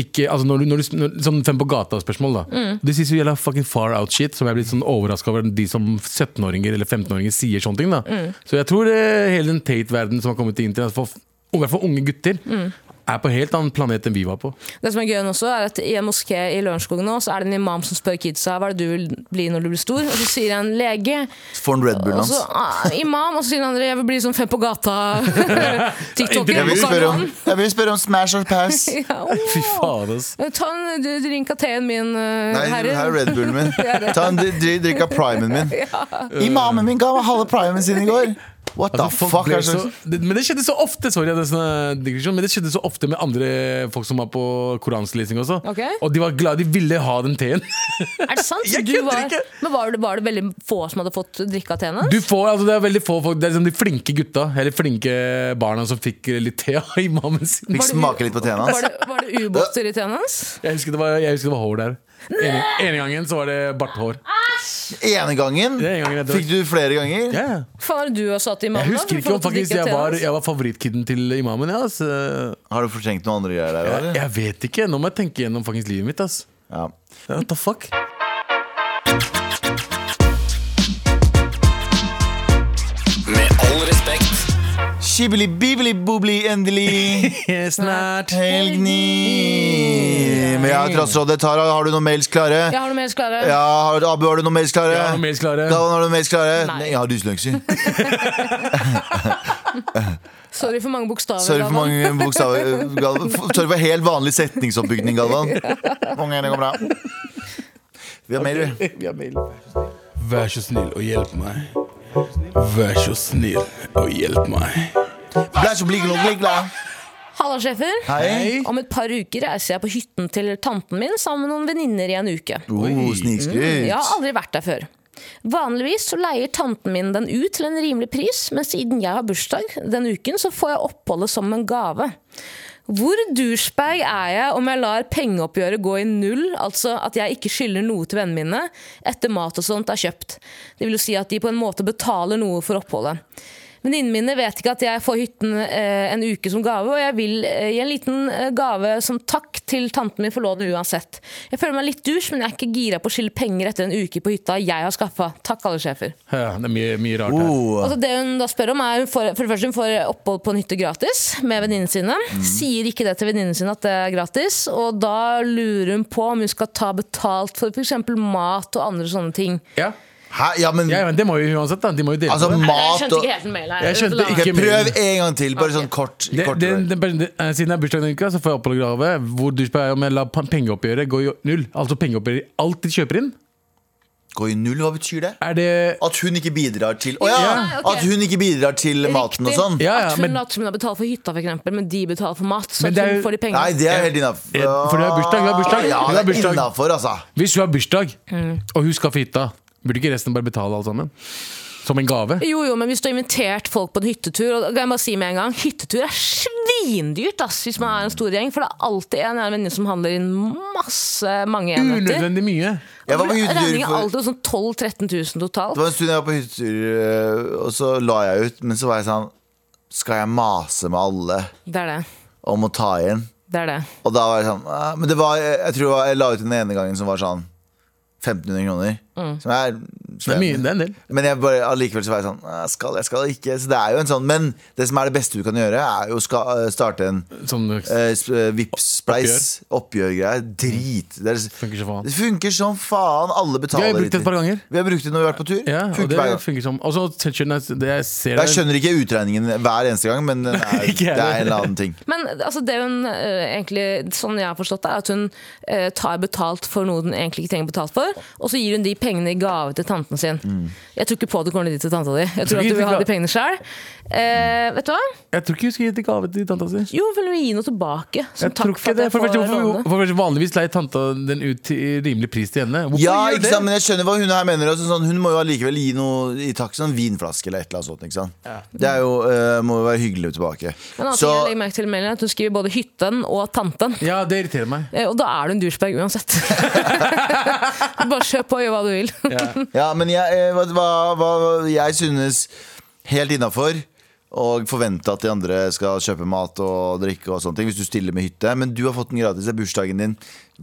Speaker 3: ikke, altså når du, når du, når, sånn Fem på gata-spørsmål. da
Speaker 4: Mm.
Speaker 3: De sier så jævla fucking far out shit, som jeg blir sånn overraska over at de som 17-åringer eller 15-åringer sier sånne ting. da
Speaker 4: Mm.
Speaker 3: Så jeg tror eh, hele den Tate-verdenen som har kommet til internett, for, i hvert fall unge gutter,
Speaker 4: Mm.
Speaker 3: er på helt annen planet enn vi var på.
Speaker 4: Det som er gøy nå også, er at i en moské i Lørenskog nå, så er det en imam som spør kidsa hva er det du vil bli når du blir stor, og så sier han lege.
Speaker 2: Får en Red Bull
Speaker 4: Og
Speaker 2: hans.
Speaker 4: så ah, imam, og så sier den andre jeg vil bli sånn fem på
Speaker 2: Jeg
Speaker 4: gata-tiktoker.
Speaker 2: vil spørre om, jeg vil spørre om Smash or Pass.
Speaker 3: Fy faen, ass.
Speaker 4: Ta en d- drink av teen min, eh,
Speaker 2: Nei, her
Speaker 4: herre.
Speaker 2: er Red Bullen min. Ta en dri- dri- drikk av primen min. Imamen min ga meg halve primen sin i går! What the
Speaker 3: Altså, folk
Speaker 2: fuck?
Speaker 3: ble
Speaker 2: er det
Speaker 3: så,
Speaker 2: slags-
Speaker 3: det, men det skjedde så ofte Sorry, det er sånn eh, digresjon Men det skjedde så ofte med andre folk som var på koranslesing også
Speaker 4: Ok.
Speaker 3: Og de var glad de ville ha den teen
Speaker 4: Er det sant?
Speaker 3: Jeg
Speaker 4: Du
Speaker 3: kødder
Speaker 4: var,
Speaker 3: ikke.
Speaker 4: men var det, var det veldig få som hadde fått drikke av tene?
Speaker 3: Du får, altså det er veldig få folk Det er liksom de flinke gutta Eller flinke barna som fikk litt te av imamen sin
Speaker 2: Fikk smake litt på tena hans.
Speaker 4: Var det, var det ubåter i tene hans?
Speaker 3: Jeg husker det var, jeg husker det var hår der Ene, ene gangen så var det barthår
Speaker 2: Ene gangen?
Speaker 3: Det er en gang jeg dør.
Speaker 2: Fikk du flere ganger?
Speaker 3: Ja, ja
Speaker 4: Faen, er det du har satt i mannen?
Speaker 3: Jeg husker ikke om faktisk jeg var, jeg var favorittkiden til imamen ja, altså.
Speaker 2: Har du fortrengt noen andre greier der?
Speaker 3: jeg,
Speaker 2: eller?
Speaker 3: jeg vet ikke, nå må jeg tenke gjennom faktisk livet mitt ass.
Speaker 2: Ja.
Speaker 3: What the fuck?
Speaker 5: Med all respekt.
Speaker 2: Skibili bibili bobli endelig
Speaker 3: Snart
Speaker 2: helgni. Men ja, Trassrådet, Tara, har du noen mails klare?
Speaker 4: Jeg har noe mer som klarer.
Speaker 2: Ja, har du, Abu, har du noen mails klare?
Speaker 3: Jeg har noen mails klare.
Speaker 2: Da, har du noen mails klare?
Speaker 4: Nei.
Speaker 2: Nei, jeg har dysleksi.
Speaker 4: Sorry for mange bokstaver.
Speaker 2: Sorry for
Speaker 4: Galvan.
Speaker 2: mange bokstaver. Galvan. Sorry for helt vanlig setningsoppbygning, Galvan. Mange ganger det går bra. Vi har mail, vi.
Speaker 6: Vær så snill og hjelp meg. Vær så snill og hjelp meg.
Speaker 2: Blæ, så blikk, blikk, blæ.
Speaker 4: Halla, sjefer.
Speaker 2: Hei.
Speaker 4: Om et par uker reiser jeg på hytten til tanten min sammen med noen venninner i en uke. Mm,
Speaker 2: Oh,
Speaker 4: Jeg har
Speaker 2: Snikskryt.
Speaker 4: aldri vært der før. Vanligvis så leier tanten min den ut til en rimelig pris, men siden jeg har bursdag den uken, så får jeg oppholdet som en gave. Hvor douchebag er jeg om jeg lar pengeoppgjøret gå i null, altså at jeg ikke skylder noe til vennene mine etter mat og sånt er kjøpt? Det vil jo si at de på en måte betaler noe for oppholdet. Venninnene mine vet ikke at jeg får hytten eh, en uke som gave, og jeg vil eh, gi en liten eh, gave som takk til tanten min for lånet uansett. Jeg føler meg litt dusj, men jeg er ikke gira på å skylde penger etter en uke på hytta jeg har skaffa. Takk, alle sjefer.
Speaker 3: Ja, det er mye, mye rart her.
Speaker 2: Oh.
Speaker 4: Altså, det hun da spør om er hun får, For det første hun får opphold på en hytte gratis med venninnene sine.
Speaker 3: Mm.
Speaker 4: Sier ikke det til venninnene sine at det er gratis, og da lurer hun på om hun skal ta betalt for f.eks. mat og andre sånne ting.
Speaker 3: Ja.
Speaker 2: Hæ? Ja, men
Speaker 3: ja, men det må jo uansett, da. De må jo dele
Speaker 2: altså
Speaker 3: på det.
Speaker 4: Jeg
Speaker 2: mat
Speaker 4: skjønte
Speaker 2: og
Speaker 4: ikke helt den mailen her.
Speaker 3: Jeg skjønte
Speaker 2: Ok,
Speaker 3: ikke
Speaker 2: Prøv
Speaker 3: mailen.
Speaker 2: en gang til, bare sånn kort.
Speaker 3: Det,
Speaker 2: kort
Speaker 3: det, det, det, eh, siden det er bursdagen din, så får jeg opphold og gave. Hvor du spør om jeg lar pa- pengeoppgjøret gå i null. Altså pengeoppgjøret i alt de kjøper inn.
Speaker 2: Gå i null, hva betyr det?
Speaker 3: Er det
Speaker 2: At hun ikke bidrar til Å ja!
Speaker 4: Ja, ok.
Speaker 2: At hun ikke bidrar til maten og sånn?
Speaker 3: Ja, ja,
Speaker 4: at hun
Speaker 3: men-
Speaker 4: later som hun har betalt for hytta, for eksempel, men de betaler for mat. Så
Speaker 3: Men
Speaker 4: at
Speaker 3: det er
Speaker 4: hun
Speaker 3: jo-
Speaker 4: får de pengene.
Speaker 2: Nei, det er helt innafor.
Speaker 3: Eh, Ja, for du har bursdag, du har bursdag,
Speaker 2: Ja,
Speaker 3: du har
Speaker 2: det er
Speaker 3: bursdag.
Speaker 2: innafor, altså.
Speaker 3: Hvis du har bursdag, og hun skal få hytta, Burde ikke resten bare betale alt sammen? Som en gave?
Speaker 4: Jo, jo, men hvis du har invitert folk på en hyttetur og da kan jeg bare si med en gang, Hyttetur er svindyrt ass, hvis man er en stor gjeng. For det er alltid en eller annen venninne som handler inn masse mange enheter.
Speaker 3: Unødvendig mye.
Speaker 2: Jeg var på
Speaker 4: Regningen
Speaker 2: hyttetur
Speaker 4: er
Speaker 2: for
Speaker 4: alltid sånn 12 000-13 000
Speaker 2: Det
Speaker 4: totalt.
Speaker 2: var en stund jeg var på hyttetur, øh, og så la jeg ut. Men så var jeg sånn Skal jeg mase med alle
Speaker 4: Det er det.
Speaker 2: om å ta igjen?
Speaker 4: Det er det.
Speaker 2: Og da var jeg sånn «Ah», Men det var, jeg, jeg tror det var- jeg la ut den ene gangen som var sånn 1500 kroner. Som er,
Speaker 3: Mm. Det er mye, det er en del.
Speaker 2: Men jeg bare, allikevel så var jeg sånn «Ah, Skal jeg, skal jeg ikke? Så det er jo en sånn Men det som er det beste du kan gjøre, er jo å ska- starte en
Speaker 3: Sånn,
Speaker 2: eh, sp- eh, Vips-spleis. Oppgjørgreier. Drit. Det, er,
Speaker 3: funker så faen.
Speaker 2: det funker som faen. Alle
Speaker 3: Vi
Speaker 2: betaler.
Speaker 3: har brukt det et par ganger.
Speaker 2: Vi har brukt det når vi har vært på tur.
Speaker 3: Ja,
Speaker 2: Funker
Speaker 3: og det
Speaker 2: hver gang.
Speaker 3: funker som Og så skjønner jeg det jeg ser
Speaker 2: Jeg skjønner ikke utregningen hver eneste gang, men den er, det
Speaker 3: Ikke jeg
Speaker 2: er
Speaker 3: heller.
Speaker 2: en eller annen ting.
Speaker 4: Men altså, det hun eh, egentlig, sånn jeg har forstått det, er at hun eh, tar betalt for noe den egentlig ikke trenger betalt for, og så gir hun de pengene i gave til tanten sin. Jeg tror ikke på at du kommer dit til tanta di. Jeg
Speaker 3: Mm.
Speaker 4: tror
Speaker 3: ikke
Speaker 4: at du vil ha
Speaker 3: det-
Speaker 4: de pengene sjøl. Eh, vet du hva?
Speaker 3: Jeg tror ikke hun skal gi til gave til tanta si.
Speaker 4: Jo, vil du gi noe tilbake? Som
Speaker 3: Jeg tror
Speaker 4: takk for
Speaker 3: ikke
Speaker 4: at
Speaker 3: det.
Speaker 4: jeg
Speaker 3: For, det første,
Speaker 4: får
Speaker 3: hvorfor,
Speaker 4: låne.
Speaker 3: for det første, vanligvis leier tanta den ut til rimelig pris til henne. Hvorfor
Speaker 2: Ja,
Speaker 3: gjør
Speaker 2: ikke
Speaker 3: det?
Speaker 2: sant, men jeg skjønner hva hun her mener. Også, sånn, hun må jo allikevel gi noe i takk, sånn vinflaske eller et eller annet sånt. Ikke sant? Det er jo, eh, må jo være hyggelig tilbake.
Speaker 4: Men en annen
Speaker 2: Så
Speaker 4: ting jeg legger merke til i meldingen er at Hun skriver både 'hytten' og 'tanten'.
Speaker 3: Ja, det irriterer meg.
Speaker 4: Eh, Og da er du en douchebag uansett. Bare kjør på og gjør hva du vil.
Speaker 2: ja, men jeg, eh, hva, hva, hva- jeg synes helt innafor å forvente at de andre skal kjøpe mat og drikke og sånne ting hvis du stiller med hytte. Men du har fått den gratis, det er bursdagen din.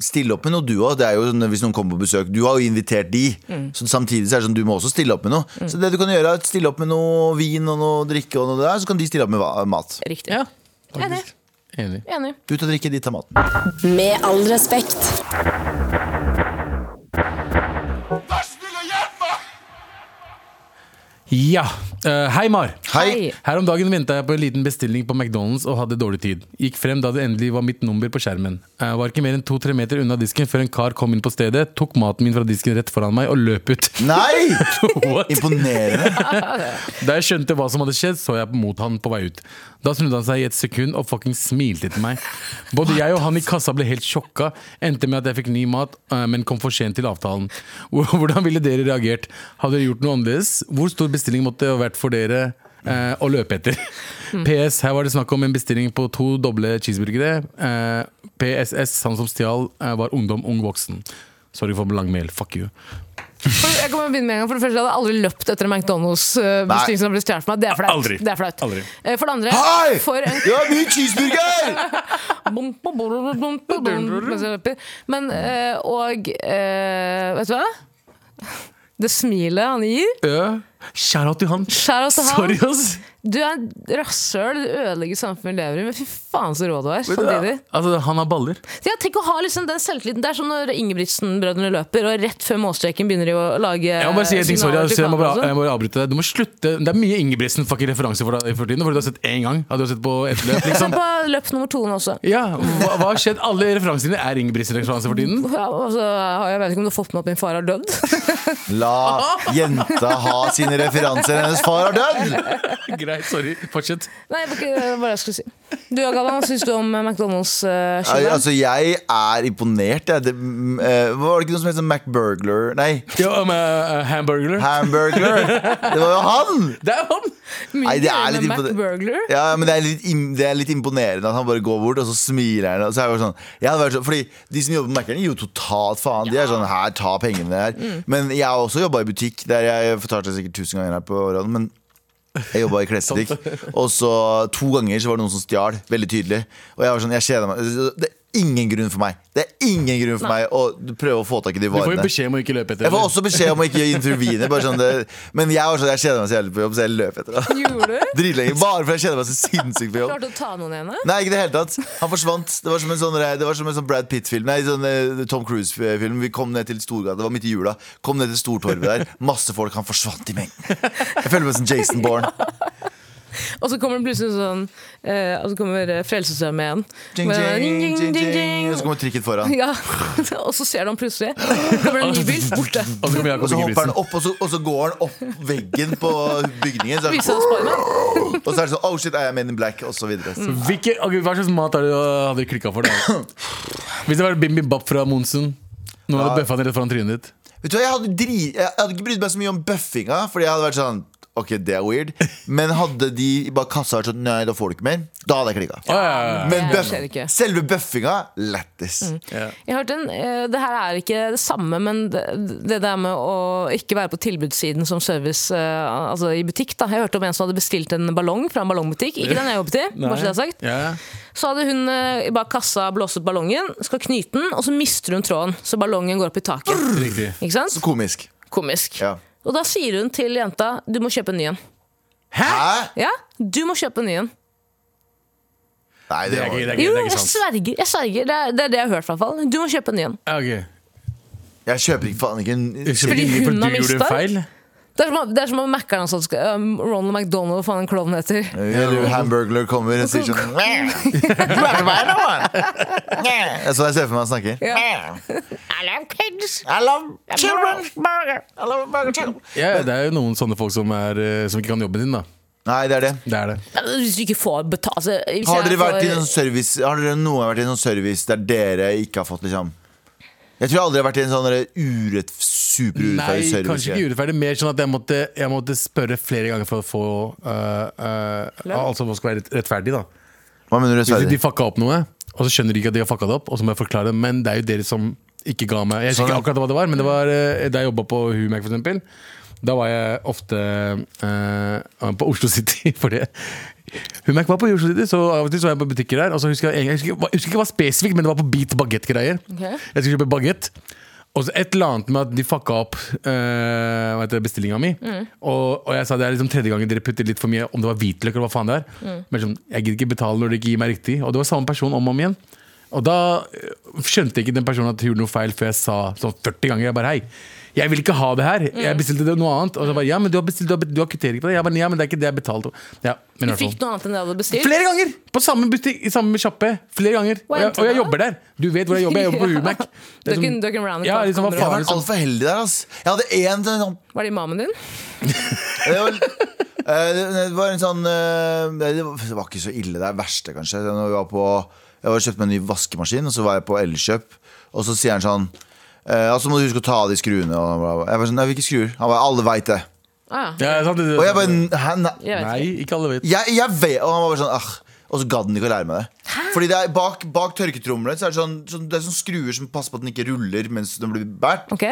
Speaker 2: Stille opp med noe, du òg. sånn, Hvis noen kommer på besøk. Du har jo invitert de.
Speaker 4: Mm.
Speaker 2: Så samtidig så er det sånn, du må også stille opp med noe. Så det du kan gjøre, er å stille opp med noe vin og noe drikke, og noe der, så kan de stille opp med va- mat.
Speaker 4: Riktig.
Speaker 3: Ja,
Speaker 4: Enig.
Speaker 3: faktisk. Enig.
Speaker 4: Enig.
Speaker 2: Du tar drikke, de tar maten.
Speaker 1: Med all respekt.
Speaker 3: Ja. Eh, hei, Mar.
Speaker 2: Hei.
Speaker 3: Her om dagen venta jeg på en liten bestilling på McDonald's og hadde dårlig tid. Gikk frem da det endelig var mitt nummer på skjermen. Jeg var ikke mer enn to-tre meter unna disken før en kar kom inn på stedet, tok maten min fra disken rett foran meg og løp ut.
Speaker 2: Nei!
Speaker 3: What?
Speaker 2: Imponerende.
Speaker 3: Da jeg skjønte hva som hadde skjedd, så jeg mot han på vei ut. Da snudde han seg i et sekund og fucking smilte til meg. Både jeg og han i kassa ble helt sjokka. Endte med at jeg fikk ny mat, eh, men kom for sent til avtalen. Hvor- Hvordan ville dere reagert? Hadde dere gjort noe annerledes? Hvor stor bestilling måtte det ha vært for dere eh, å løpe etter? PS. Her var det snakk om en bestilling på to doble cheeseburgere. Eh, PSS. Han som stjal, eh, var ungdom, ung voksen. Sorry for lang mail. Fuck you.
Speaker 4: For, jeg kommer begynne med en gang For det første, jeg hadde aldri løpt etter en McDonald's-bestilling som ble stjålet fra meg. Det er flaut.
Speaker 3: Aldri.
Speaker 4: Det er flaut.
Speaker 3: Aldri.
Speaker 4: Eh, For det andre
Speaker 2: Hei!
Speaker 4: for en
Speaker 2: Det var mye cheeseburger!
Speaker 4: bom, bom, bom, bom, bom, bom, bom, mens jeg løper. Men eh, og eh, Vet du hva? Det smilet han gir.
Speaker 3: Uh, Shout out til han.
Speaker 4: Skjær oss til
Speaker 3: Sorry,
Speaker 4: han.
Speaker 3: ass.
Speaker 4: Du er en rasshøl, du ødelegger samfunnet vi lever i. Men fy faen så rå du er. Samtidig.
Speaker 3: Altså, han har baller.
Speaker 4: Så jeg tenker å ha liksom den selvtilliten. Det er som når Ingebrigtsen-brødrene løper, og rett før målstreken begynner de å lage
Speaker 3: Jeg må bare si en ting, sorry,
Speaker 4: signaler
Speaker 3: jeg,
Speaker 4: til
Speaker 3: jeg, må
Speaker 4: kamera og
Speaker 3: bare,
Speaker 4: sånn.
Speaker 3: jeg må bare avbryte deg. Du må slutte. Det er mye Ingebrigtsen fucking referanser for deg i fortiden. For du har sett én gang. Hadde du sett på ett løp,
Speaker 4: Se
Speaker 3: liksom.
Speaker 4: på løp nummer to nå også.
Speaker 3: Ja, hva, hva har skjedd? Alle referansene dine er Ingebrigtsen-referanser for tiden.
Speaker 4: Ja, altså, jeg vet ikke om du har fått med at min far har dødd.
Speaker 2: La jenta ha sine referanser. Hennes far har dødd!
Speaker 3: Greit, sorry. Fortsett.
Speaker 4: Nei, jeg vet ikke hva var det jeg skulle si. Du, Galvan, hva syns du om eh, McDonald's-skylda?
Speaker 2: Nei, Altså, jeg er imponert. Jeg. Det, mm, eh, var det ikke noe som het sånn MacBurglar? Nei,
Speaker 3: Ja, om eh, hamburger.
Speaker 2: Hamburglar! Det var jo han!
Speaker 3: Det er han!
Speaker 2: Nei, det er litt imponer-
Speaker 4: McBurgler?
Speaker 2: Ja, men det er, litt, im- det er litt imponerende at han bare går bort, og så smiler han. Og så er jeg bare sånn, jeg hadde vært sånn Fordi de som jobber på Mækkern, gir jo totalt faen. De er sånn her, ta pengene her. Men jeg har også jobba i butikk, der jeg fortalte det sikkert tusen ganger her på radioen. Men jeg jobba i klesbutikk, og så to ganger så var det noen som stjal. Veldig tydelig. Og jeg var sånn, jeg kjeder meg. Det er ingen grunn for meg Det er ingen grunn for meg å prøve å få tak i de
Speaker 3: Du får
Speaker 2: varene.
Speaker 3: jo beskjed om å ikke løpe etter.
Speaker 2: Jeg får også beskjed om å ikke intervene. Bare sånn det, men jeg, var sånn, jeg kjeder meg så jævlig på jobb, så jeg løp etter det.
Speaker 4: Gjorde du?
Speaker 2: Dritlenge. Bare fordi jeg kjeder meg så sinnssykt på jobb.
Speaker 4: Klarte å ta noen igjen? da?
Speaker 2: Nei, ikke i det hele tatt. Han forsvant. Det var som en sånn, det var som en sånn Brad Pitt-film. Nei, sånn eh, Tom Cruise-film. Vi kom ned til Storgata, det var midt i jula. Kom ned til Stortorvet der. Masse folk. Han forsvant i mengden. Jeg føler meg som Jason Bourne.
Speaker 4: Og så kommer det plutselig sånn eh, Og så kommer eh, Frelsesarmeen.
Speaker 2: Ding,
Speaker 4: Med-
Speaker 2: ding,
Speaker 4: ding,
Speaker 2: ding,
Speaker 4: ding,
Speaker 2: ding,
Speaker 4: ding.
Speaker 2: Og så kommer trikken foran.
Speaker 4: Ja, og så ser du ham plutselig. Så kommer det en ny bil borte.
Speaker 3: Og så
Speaker 2: Og
Speaker 3: kommer Jakob
Speaker 2: så hopper han
Speaker 3: Ingebrigtsen.
Speaker 2: opp, og så, og så går han opp veggen på bygningen. Så er det
Speaker 4: Viser
Speaker 2: sånn,
Speaker 4: han Spiderman.
Speaker 2: og så er det sånn Oh shit, er jeg Men in Black? Og så videre.
Speaker 4: Mm.
Speaker 2: Så
Speaker 3: Hvilke, ok, hva slags mat er det du hadde klikka for? da? Hvis det var Bim Bim Bap fra Monsen. Noen hadde bøffa den rett foran trynet ditt.
Speaker 2: Vet du hva, jeg hadde, dri, jeg hadde ikke brydd meg så mye om bøffinga, Fordi jeg hadde vært sånn Ok, det er weird. Men hadde de bare kassa vært sånn Nei, da får du ikke mer. Da hadde jeg klikka. Men
Speaker 4: det
Speaker 2: bøff,
Speaker 4: skjer ikke. Mm.
Speaker 2: selve bøffinga lættis.
Speaker 4: Jeg hørte en, eh, Det her er ikke det samme, men det, det der med å ikke være på tilbudssiden som service eh, altså i butikk da. Jeg hørte om en som hadde bestilt en ballong fra en ballongbutikk. Ikke den jeg jobbet i. bare så det er sagt.
Speaker 3: Ja.
Speaker 4: Så hadde hun eh, bak kassa blåst ut ballongen, skal knyte den, og så mister hun tråden. Så ballongen går opp i taket.
Speaker 3: Riktig.
Speaker 4: Ikke sant?
Speaker 2: Så komisk.
Speaker 4: Komisk.
Speaker 2: Ja.
Speaker 4: Og da sier hun til jenta du må kjøpe en ny en.
Speaker 2: Hæ?
Speaker 4: Ja, du må kjøpe en ny en.
Speaker 2: Nei,
Speaker 3: Det
Speaker 2: det
Speaker 3: er ikke, det
Speaker 2: var
Speaker 3: er ikke,
Speaker 4: Jo,
Speaker 3: det er
Speaker 4: jeg
Speaker 3: ikke sant.
Speaker 4: sverger. jeg sverger Det er det, er det jeg har hørt, i hvert fall. Du må kjøpe en ny en.
Speaker 3: Ja, ok.
Speaker 2: Jeg kjøper ikke faen ikke en
Speaker 3: Ikke fordi
Speaker 4: hun
Speaker 3: for
Speaker 4: har
Speaker 3: du gjorde en
Speaker 4: mistet?
Speaker 3: feil.
Speaker 4: Det er som om- det er som om Mac-eren hans skal um, Ronald McDonald, hva faen en klovn heter.
Speaker 2: Eller hamburglar kommer og sier sånn «Mæ, hva er det nå?» Mæ. Det er sånn jeg ser for meg han snakker.
Speaker 4: I love kids!
Speaker 2: I love children. I love burger children.
Speaker 3: Ja, det er jo noen sånne folk som, er, eh, som ikke kan jobben sin, da.
Speaker 2: Nei, det er det.
Speaker 3: Det er det.
Speaker 4: Men Hvis du ikke får betalt altså, hvis
Speaker 2: Har
Speaker 4: jeg
Speaker 2: dere, vært i
Speaker 4: får-
Speaker 2: en service, har dere noen gang vært i en sånn service der dere ikke har fått liksom Jeg tror aldri jeg har vært i en sånn derre urett,
Speaker 3: Nei,
Speaker 2: superurettferdig service.
Speaker 3: kanskje ikke urettferdig. Mer sånn at jeg måtte, jeg måtte spørre flere ganger for å få eh, eh, Altså hva skal være rett- rettferdig, da.
Speaker 2: Hva mener du
Speaker 3: Hvis de
Speaker 2: rettferdig?
Speaker 3: fucka opp noe, og så skjønner de ikke at de har fucka det opp, og så må jeg forklare det, men det er jo dere som ikke ga meg Jeg
Speaker 2: Sånn,
Speaker 3: husker
Speaker 2: ja.
Speaker 3: ikke akkurat hva det var, men det var eh, da jeg jobba på Humac, for eksempel. Da var jeg ofte eh, på Oslo City, fordi Humac var på Oslo City, så av og til så var jeg på butikker der. Og så husker jeg, jeg, husker, ikke- jeg husker ikke hva spesifikt, men det var på Beat Baguette-greier.
Speaker 4: Ok.
Speaker 3: Jeg skulle kjøpe bagett. Og så et eller annet med at de fucka opp uh, bestillinga mi. Og, og jeg sa det er liksom tredje gangen dere putter litt for mye, om det var hvitløk eller hva faen det er. Men liksom, jeg gidder ikke betale når dere ikke gir meg riktig. Og det var samme person om og om igjen. Og da eh, skjønte ikke den personen at jeg gjorde noe feil før jeg sa sånn 40 ganger. Jeg bare hei, jeg vil ikke ha det her.
Speaker 4: Mm.
Speaker 3: Jeg bestilte det noe annet. Og så bare ja, men du har, bestilt, du har, du har kvittering på det. Jeg bare ja, men det er ikke det jeg betalte. Ja, men i hvert
Speaker 4: Du
Speaker 3: fall.
Speaker 4: fikk
Speaker 2: sånn?
Speaker 4: noe annet enn det jeg hadde bestilt?
Speaker 3: Flere ganger! På samme butikk, i samme sjappe. Flere ganger. Og jeg, og jeg jobber der. Du vet hvor jeg jobber. Jeg jobber på
Speaker 4: Ja.
Speaker 3: Humac.
Speaker 4: Du er ikke- du er ikke en random
Speaker 3: ja, liksom, hva
Speaker 4: person.
Speaker 2: Jeg har
Speaker 3: faen,
Speaker 2: vært
Speaker 3: liksom.
Speaker 2: altfor heldig der, ass. Jeg hadde én sånn
Speaker 4: Var det imamen din?
Speaker 2: det var, eh, det var en sånn eh, Det var det var ikke så ille. Det er det verste, kanskje. Det er Når vi var på, jeg var kjøpte meg en ny vaskemaskin, og så var jeg på Elkjøp, og så sier han sånn eh, Altså må du huske å ta av de skruene. Og bla, bla. Jeg var sånn, nei, hvilke skruer? Han bare, alle veit det.
Speaker 4: Ah, ja.
Speaker 3: Ja, sant, det-
Speaker 2: Og jeg bare, hæ, nei.
Speaker 4: Jeg vet
Speaker 3: Nei,
Speaker 4: ikke.
Speaker 3: ikke alle vet.
Speaker 2: Jeg, jeg vet, og han var bare sånn ah. Og så gadd han ikke å lære meg det. Fordi det er bak, bak tørketrommelen så er det sånn, sånn, det er sånn skruer som passer på at den ikke ruller mens den blir båret.
Speaker 4: Ok.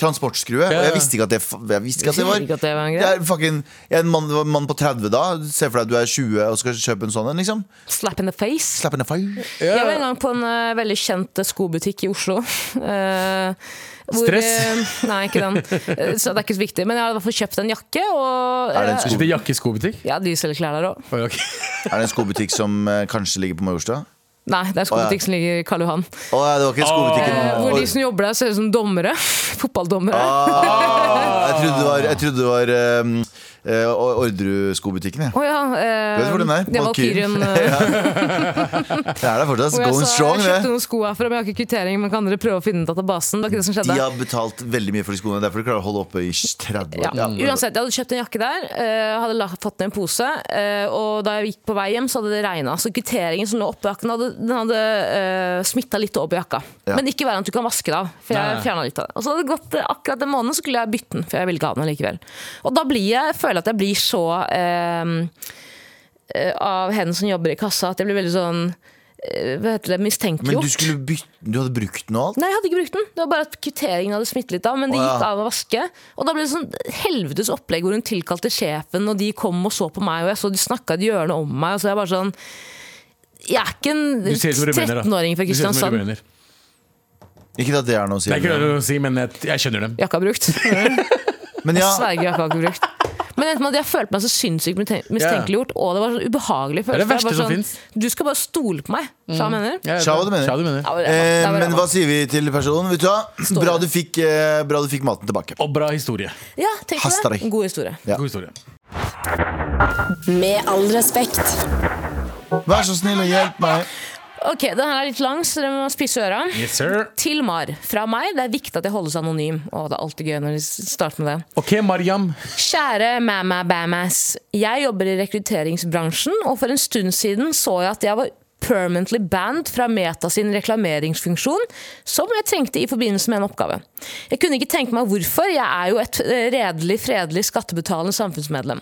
Speaker 2: Transportskrue. Og
Speaker 3: ja.
Speaker 2: jeg visste ikke at det, fa- jeg visste ikke at det var
Speaker 4: Ikke at det var en
Speaker 2: Jeg
Speaker 4: greie.
Speaker 2: er fucking, jeg er en mann, en mann på 30 da. Se for deg at du er 20 og skal kjøpe en sånn en. liksom
Speaker 4: Slap in the face.
Speaker 2: Slap in the fire.
Speaker 4: Jeg var en gang på en eh, veldig kjent eh, skobutikk i Oslo. eh, hvor,
Speaker 3: Stress?
Speaker 4: eh, nei, ikke den. Eh, så det er ikke så viktig. Men jeg hadde i hvert fall kjøpt en jakke.
Speaker 2: Er det
Speaker 4: Og,
Speaker 2: en
Speaker 4: eh,
Speaker 2: sko-
Speaker 3: Ikke det jakke i skobutikk?
Speaker 4: ja, de selger klær der òg.
Speaker 3: Å, ja, ok.
Speaker 2: Er det en skobutikk som eh, kanskje ligger på Majorstua?
Speaker 4: Nei, det er en skobutikk som ligger i Karl Johan.
Speaker 2: Å ja, det var ikke skobutikken.
Speaker 4: Eh, hvor
Speaker 2: Å,
Speaker 4: de som jobber der, ser ut som dommere. Fotballdommere.
Speaker 2: Ah. jeg trodde det var, jeg trodde det var um, eh, Orderud-skobutikken. jeg.
Speaker 4: Å ja. eh,
Speaker 2: Vet du hvor den er?
Speaker 4: Det er
Speaker 2: Valkyrien.
Speaker 4: Valkyrien. eh,
Speaker 2: Det er der fortsatt.
Speaker 4: hvor jeg
Speaker 2: Going
Speaker 4: sa,
Speaker 2: strong,
Speaker 4: jeg kjøpte
Speaker 2: det.
Speaker 4: noen sko herfra, men jeg har ikke kvittering. Men kan dere prøve å finne databasen? Det var ikke det som
Speaker 2: De
Speaker 4: skjedde.
Speaker 2: har betalt veldig mye for de skoene. Derfor de klarer å holde oppe i 30
Speaker 4: Ja.
Speaker 2: år. Ja.
Speaker 4: Uansett, jeg hadde kjøpt en jakke der, eh, hadde la, fått ned en pose, eh, og da jeg gikk på vei hjem, så hadde det regna. Så kvitteringen som lå oppå jakken, hadde, den hadde uh, smitta litt over på jakka.
Speaker 2: Ja.
Speaker 4: Men ikke verre enn at du kan vaske det av. For jeg
Speaker 3: Nei.
Speaker 4: fjernet litt av det. Og så hadde det gått eh, akkurat en måned, så skulle jeg bytte den, for jeg ville ikke ha den likevel. Og da blir jeg, føler jeg at jeg blir så eh, eh, av henne som jobber i kassa, at jeg blir veldig sånn eh, Hva heter det,
Speaker 2: Men
Speaker 4: mistenkeliggjort.
Speaker 2: du, skulle bytte, du hadde brukt den og alt?
Speaker 4: Nei, jeg hadde ikke brukt den. Det var bare at kvitteringen hadde smittet litt av. Men det
Speaker 2: Å, ja.
Speaker 4: gikk av å vaske. Og da ble det sånn helvetes opplegg hvor hun tilkalte sjefen, og de kom og så på meg, og jeg så de snakka et hjørne om meg. Og så jeg bare sånn Jeg er ikke
Speaker 3: Du ser ut som
Speaker 4: en
Speaker 3: rumener, da.
Speaker 4: 13-åring fra
Speaker 3: Du ser ut som en
Speaker 4: Kristiansand.
Speaker 3: rumener.
Speaker 2: Ikke at det er noe å si.
Speaker 3: Det er ikke det å si, men jeg, jeg skjønner dem.
Speaker 4: Jakka er brukt.
Speaker 2: Men ja,
Speaker 4: Sverger, jakka er ikke brukt. Men enten at jeg følte meg så sinnssykt misten- mistenkeliggjort, og det var sånn ubehagelig
Speaker 3: Det er
Speaker 4: følelse.
Speaker 3: det verste
Speaker 4: Jeg var
Speaker 3: som
Speaker 4: sånn,
Speaker 3: finnes. Mm.
Speaker 4: Du skal bare stole på meg, sa jeg mener.
Speaker 3: Ja,
Speaker 2: Sja, hva du mener.
Speaker 3: Sja, mener.
Speaker 4: Ja, det er- det
Speaker 2: eh,
Speaker 4: er bra.
Speaker 2: men hva sier vi til personen? Vet du hva? Bra
Speaker 4: det.
Speaker 2: du fikk, eh, bra du fikk maten tilbake.
Speaker 3: Og bra historie.
Speaker 4: Ja, tenk
Speaker 2: Hasta
Speaker 4: på
Speaker 2: deg.
Speaker 4: det. God historie.
Speaker 2: Ja.
Speaker 3: God historie.
Speaker 1: Med all respekt.
Speaker 2: Vær så snill og hjelp meg.
Speaker 4: Ok, den her er litt lang, så dere må spisse øra.
Speaker 3: Yes, sir.
Speaker 4: Til Mar, fra meg. Det er viktig at jeg holdes anonym. Å, det er alltid gøy når de starter med det.
Speaker 3: Ok, Mariam.
Speaker 4: Kjære mamma bamass. Jeg jobber i rekrutteringsbransjen, og for en stund siden så jeg at jeg var permanently banned fra Meta sin reklameringsfunksjon, som jeg trengte i forbindelse med en oppgave. Jeg kunne ikke tenke meg hvorfor, jeg er jo et eh, redelig, fredelig skattebetalende samfunnsmedlem.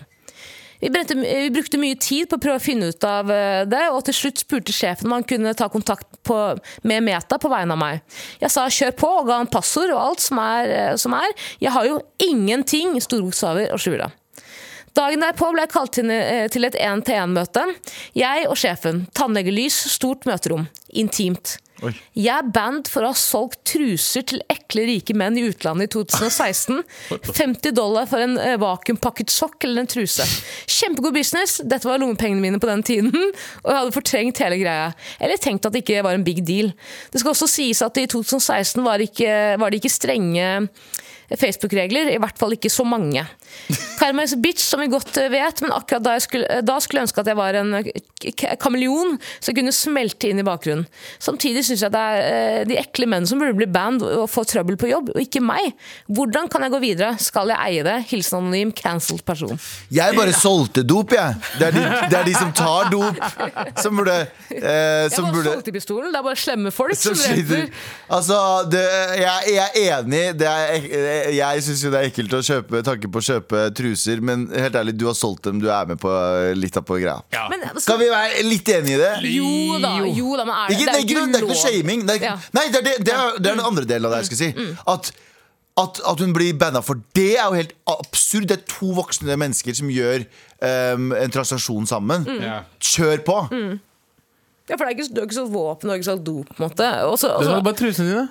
Speaker 4: Vi, brente, vi brukte mye tid på å prøve å finne ut av eh, det, og til slutt spurte sjefen om han kunne ta kontakt på, med Meta på vegne av meg. Jeg sa kjør på og ga han passord og alt som er. eh, Som er. Jeg har jo ingenting, i store bokstaver og skjula. Dagen derpå ble jeg kalt inn eh, til et 1-til-1-møte. Jeg og sjefen. Tannlegelys, stort møterom. Intimt.
Speaker 2: Oi.
Speaker 4: Jeg er banned for å ha solgt truser til ekle rike menn i utlandet i 2016. 50 dollar for en eh, vakuumpakket sokk eller en truse. Kjempegod business, dette var lommepengene mine på den tiden, og jeg hadde fortrengt hele greia. Eller tenkt at det ikke var en big deal. Det skal også sies at i 2016 var det ikke, var det ikke strenge Facebook-regler, i hvert fall ikke så mange. Karma is a bitch, som vi godt eh, vet, men akkurat da, jeg skulle, eh, da skulle jeg ønske at jeg var en eh, k- kameleon som kunne smelte inn i bakgrunnen. Samtidig syns jeg det er eh, de ekle menn som burde bli band og få trøbbel på jobb, og ikke meg. Hvordan kan jeg gå videre? Skal jeg eie det? Hilsen anonym cancelled person.
Speaker 2: Jeg bare solgte dop, jeg. Det er de, det er de som tar dop, som burde, eh,
Speaker 4: Jeg
Speaker 2: som
Speaker 4: bare
Speaker 2: burde
Speaker 4: solgte pistolen, det er bare slemme folk
Speaker 2: som
Speaker 4: som
Speaker 2: sliter.
Speaker 4: dreper.
Speaker 2: Altså, det, jeg, jeg er enig. Det er, ek- jeg syns jo det er ekkelt å kjøpe tanke på å kjøpe truser, men helt ærlig, du har solgt dem. Du er med på litt av på greia.
Speaker 4: Men, altså,
Speaker 2: Skal vi være litt enige i det?
Speaker 4: Jo da, jo da, men er det,
Speaker 2: Ikke, det, er ikke, noe- det er ikke noe
Speaker 4: lov.
Speaker 2: shaming. Det er,
Speaker 4: Ja. Mm,
Speaker 2: ikke- Nei, det er, det, det, er, det er den andre delen av det jeg skal si. At, at, at hun blir banna for det, er jo helt absurd. Det er to voksne mennesker som gjør um, en transaksjon sammen.
Speaker 4: Mm.
Speaker 2: Kjør på!
Speaker 4: Ja, for det er ikke, du har ikke solgt våpen, du har ikke solgt dop, på en måte. Og så- og
Speaker 3: Det
Speaker 4: så-
Speaker 3: var bare trusene dine.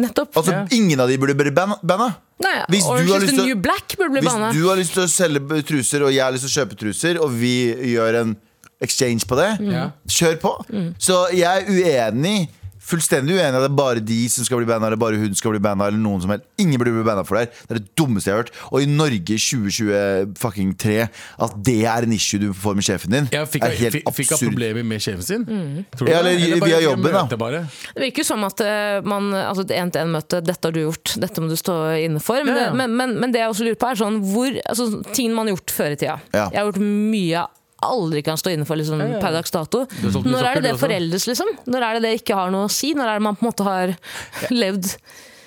Speaker 4: nettopp.
Speaker 2: Altså, Ingen av de burde bli ban- banna.
Speaker 4: Nei,
Speaker 2: Hvis du
Speaker 4: Orange
Speaker 2: har
Speaker 4: is
Speaker 2: lyst
Speaker 4: the
Speaker 2: til å-
Speaker 4: New Black burde bli
Speaker 2: Hvis
Speaker 4: banna.
Speaker 2: du har lyst til å selge truser, og jeg har lyst til å kjøpe truser, og vi gjør en exchange på det,
Speaker 3: Mm. Ja. Mm.
Speaker 2: kjør på. Så jeg er uenig. Fullstendig uenig at det er bare de som skal bli banna, eller bare hun skal bli banna. Eller noen som helst. Ingen burde bli banna for det her. Det er det dummeste jeg har hørt. Og i Norge i 2023, at det er en issue du får med sjefen din,
Speaker 3: Jeg fikk,
Speaker 2: er helt
Speaker 3: fikk, fikk av
Speaker 2: absurd. Mm.
Speaker 3: problemer med sjefen sin. Tror du
Speaker 2: Ja,
Speaker 3: det?
Speaker 2: eller
Speaker 3: bare
Speaker 2: via
Speaker 3: ikke
Speaker 2: jobben, da.
Speaker 3: møte bare.
Speaker 4: Det virker jo som at eh, man, altså et en-til-en-møte, dette har du gjort, dette må du stå inne for.
Speaker 3: Ja,
Speaker 4: Men,
Speaker 3: ja.
Speaker 4: det- men, men, men det jeg også lurer på er sånn, hvor, altså, ting man har gjort før i tida.
Speaker 2: Ja.
Speaker 4: Jeg har gjort mye jeg aldri kan stå inne for liksom, per dags dato.
Speaker 3: har solgt mye
Speaker 4: Når er
Speaker 3: sokker,
Speaker 4: det det
Speaker 3: du også.
Speaker 4: foreldes, liksom? Når er det det ikke har noe å si? Når er det man på en måte har levd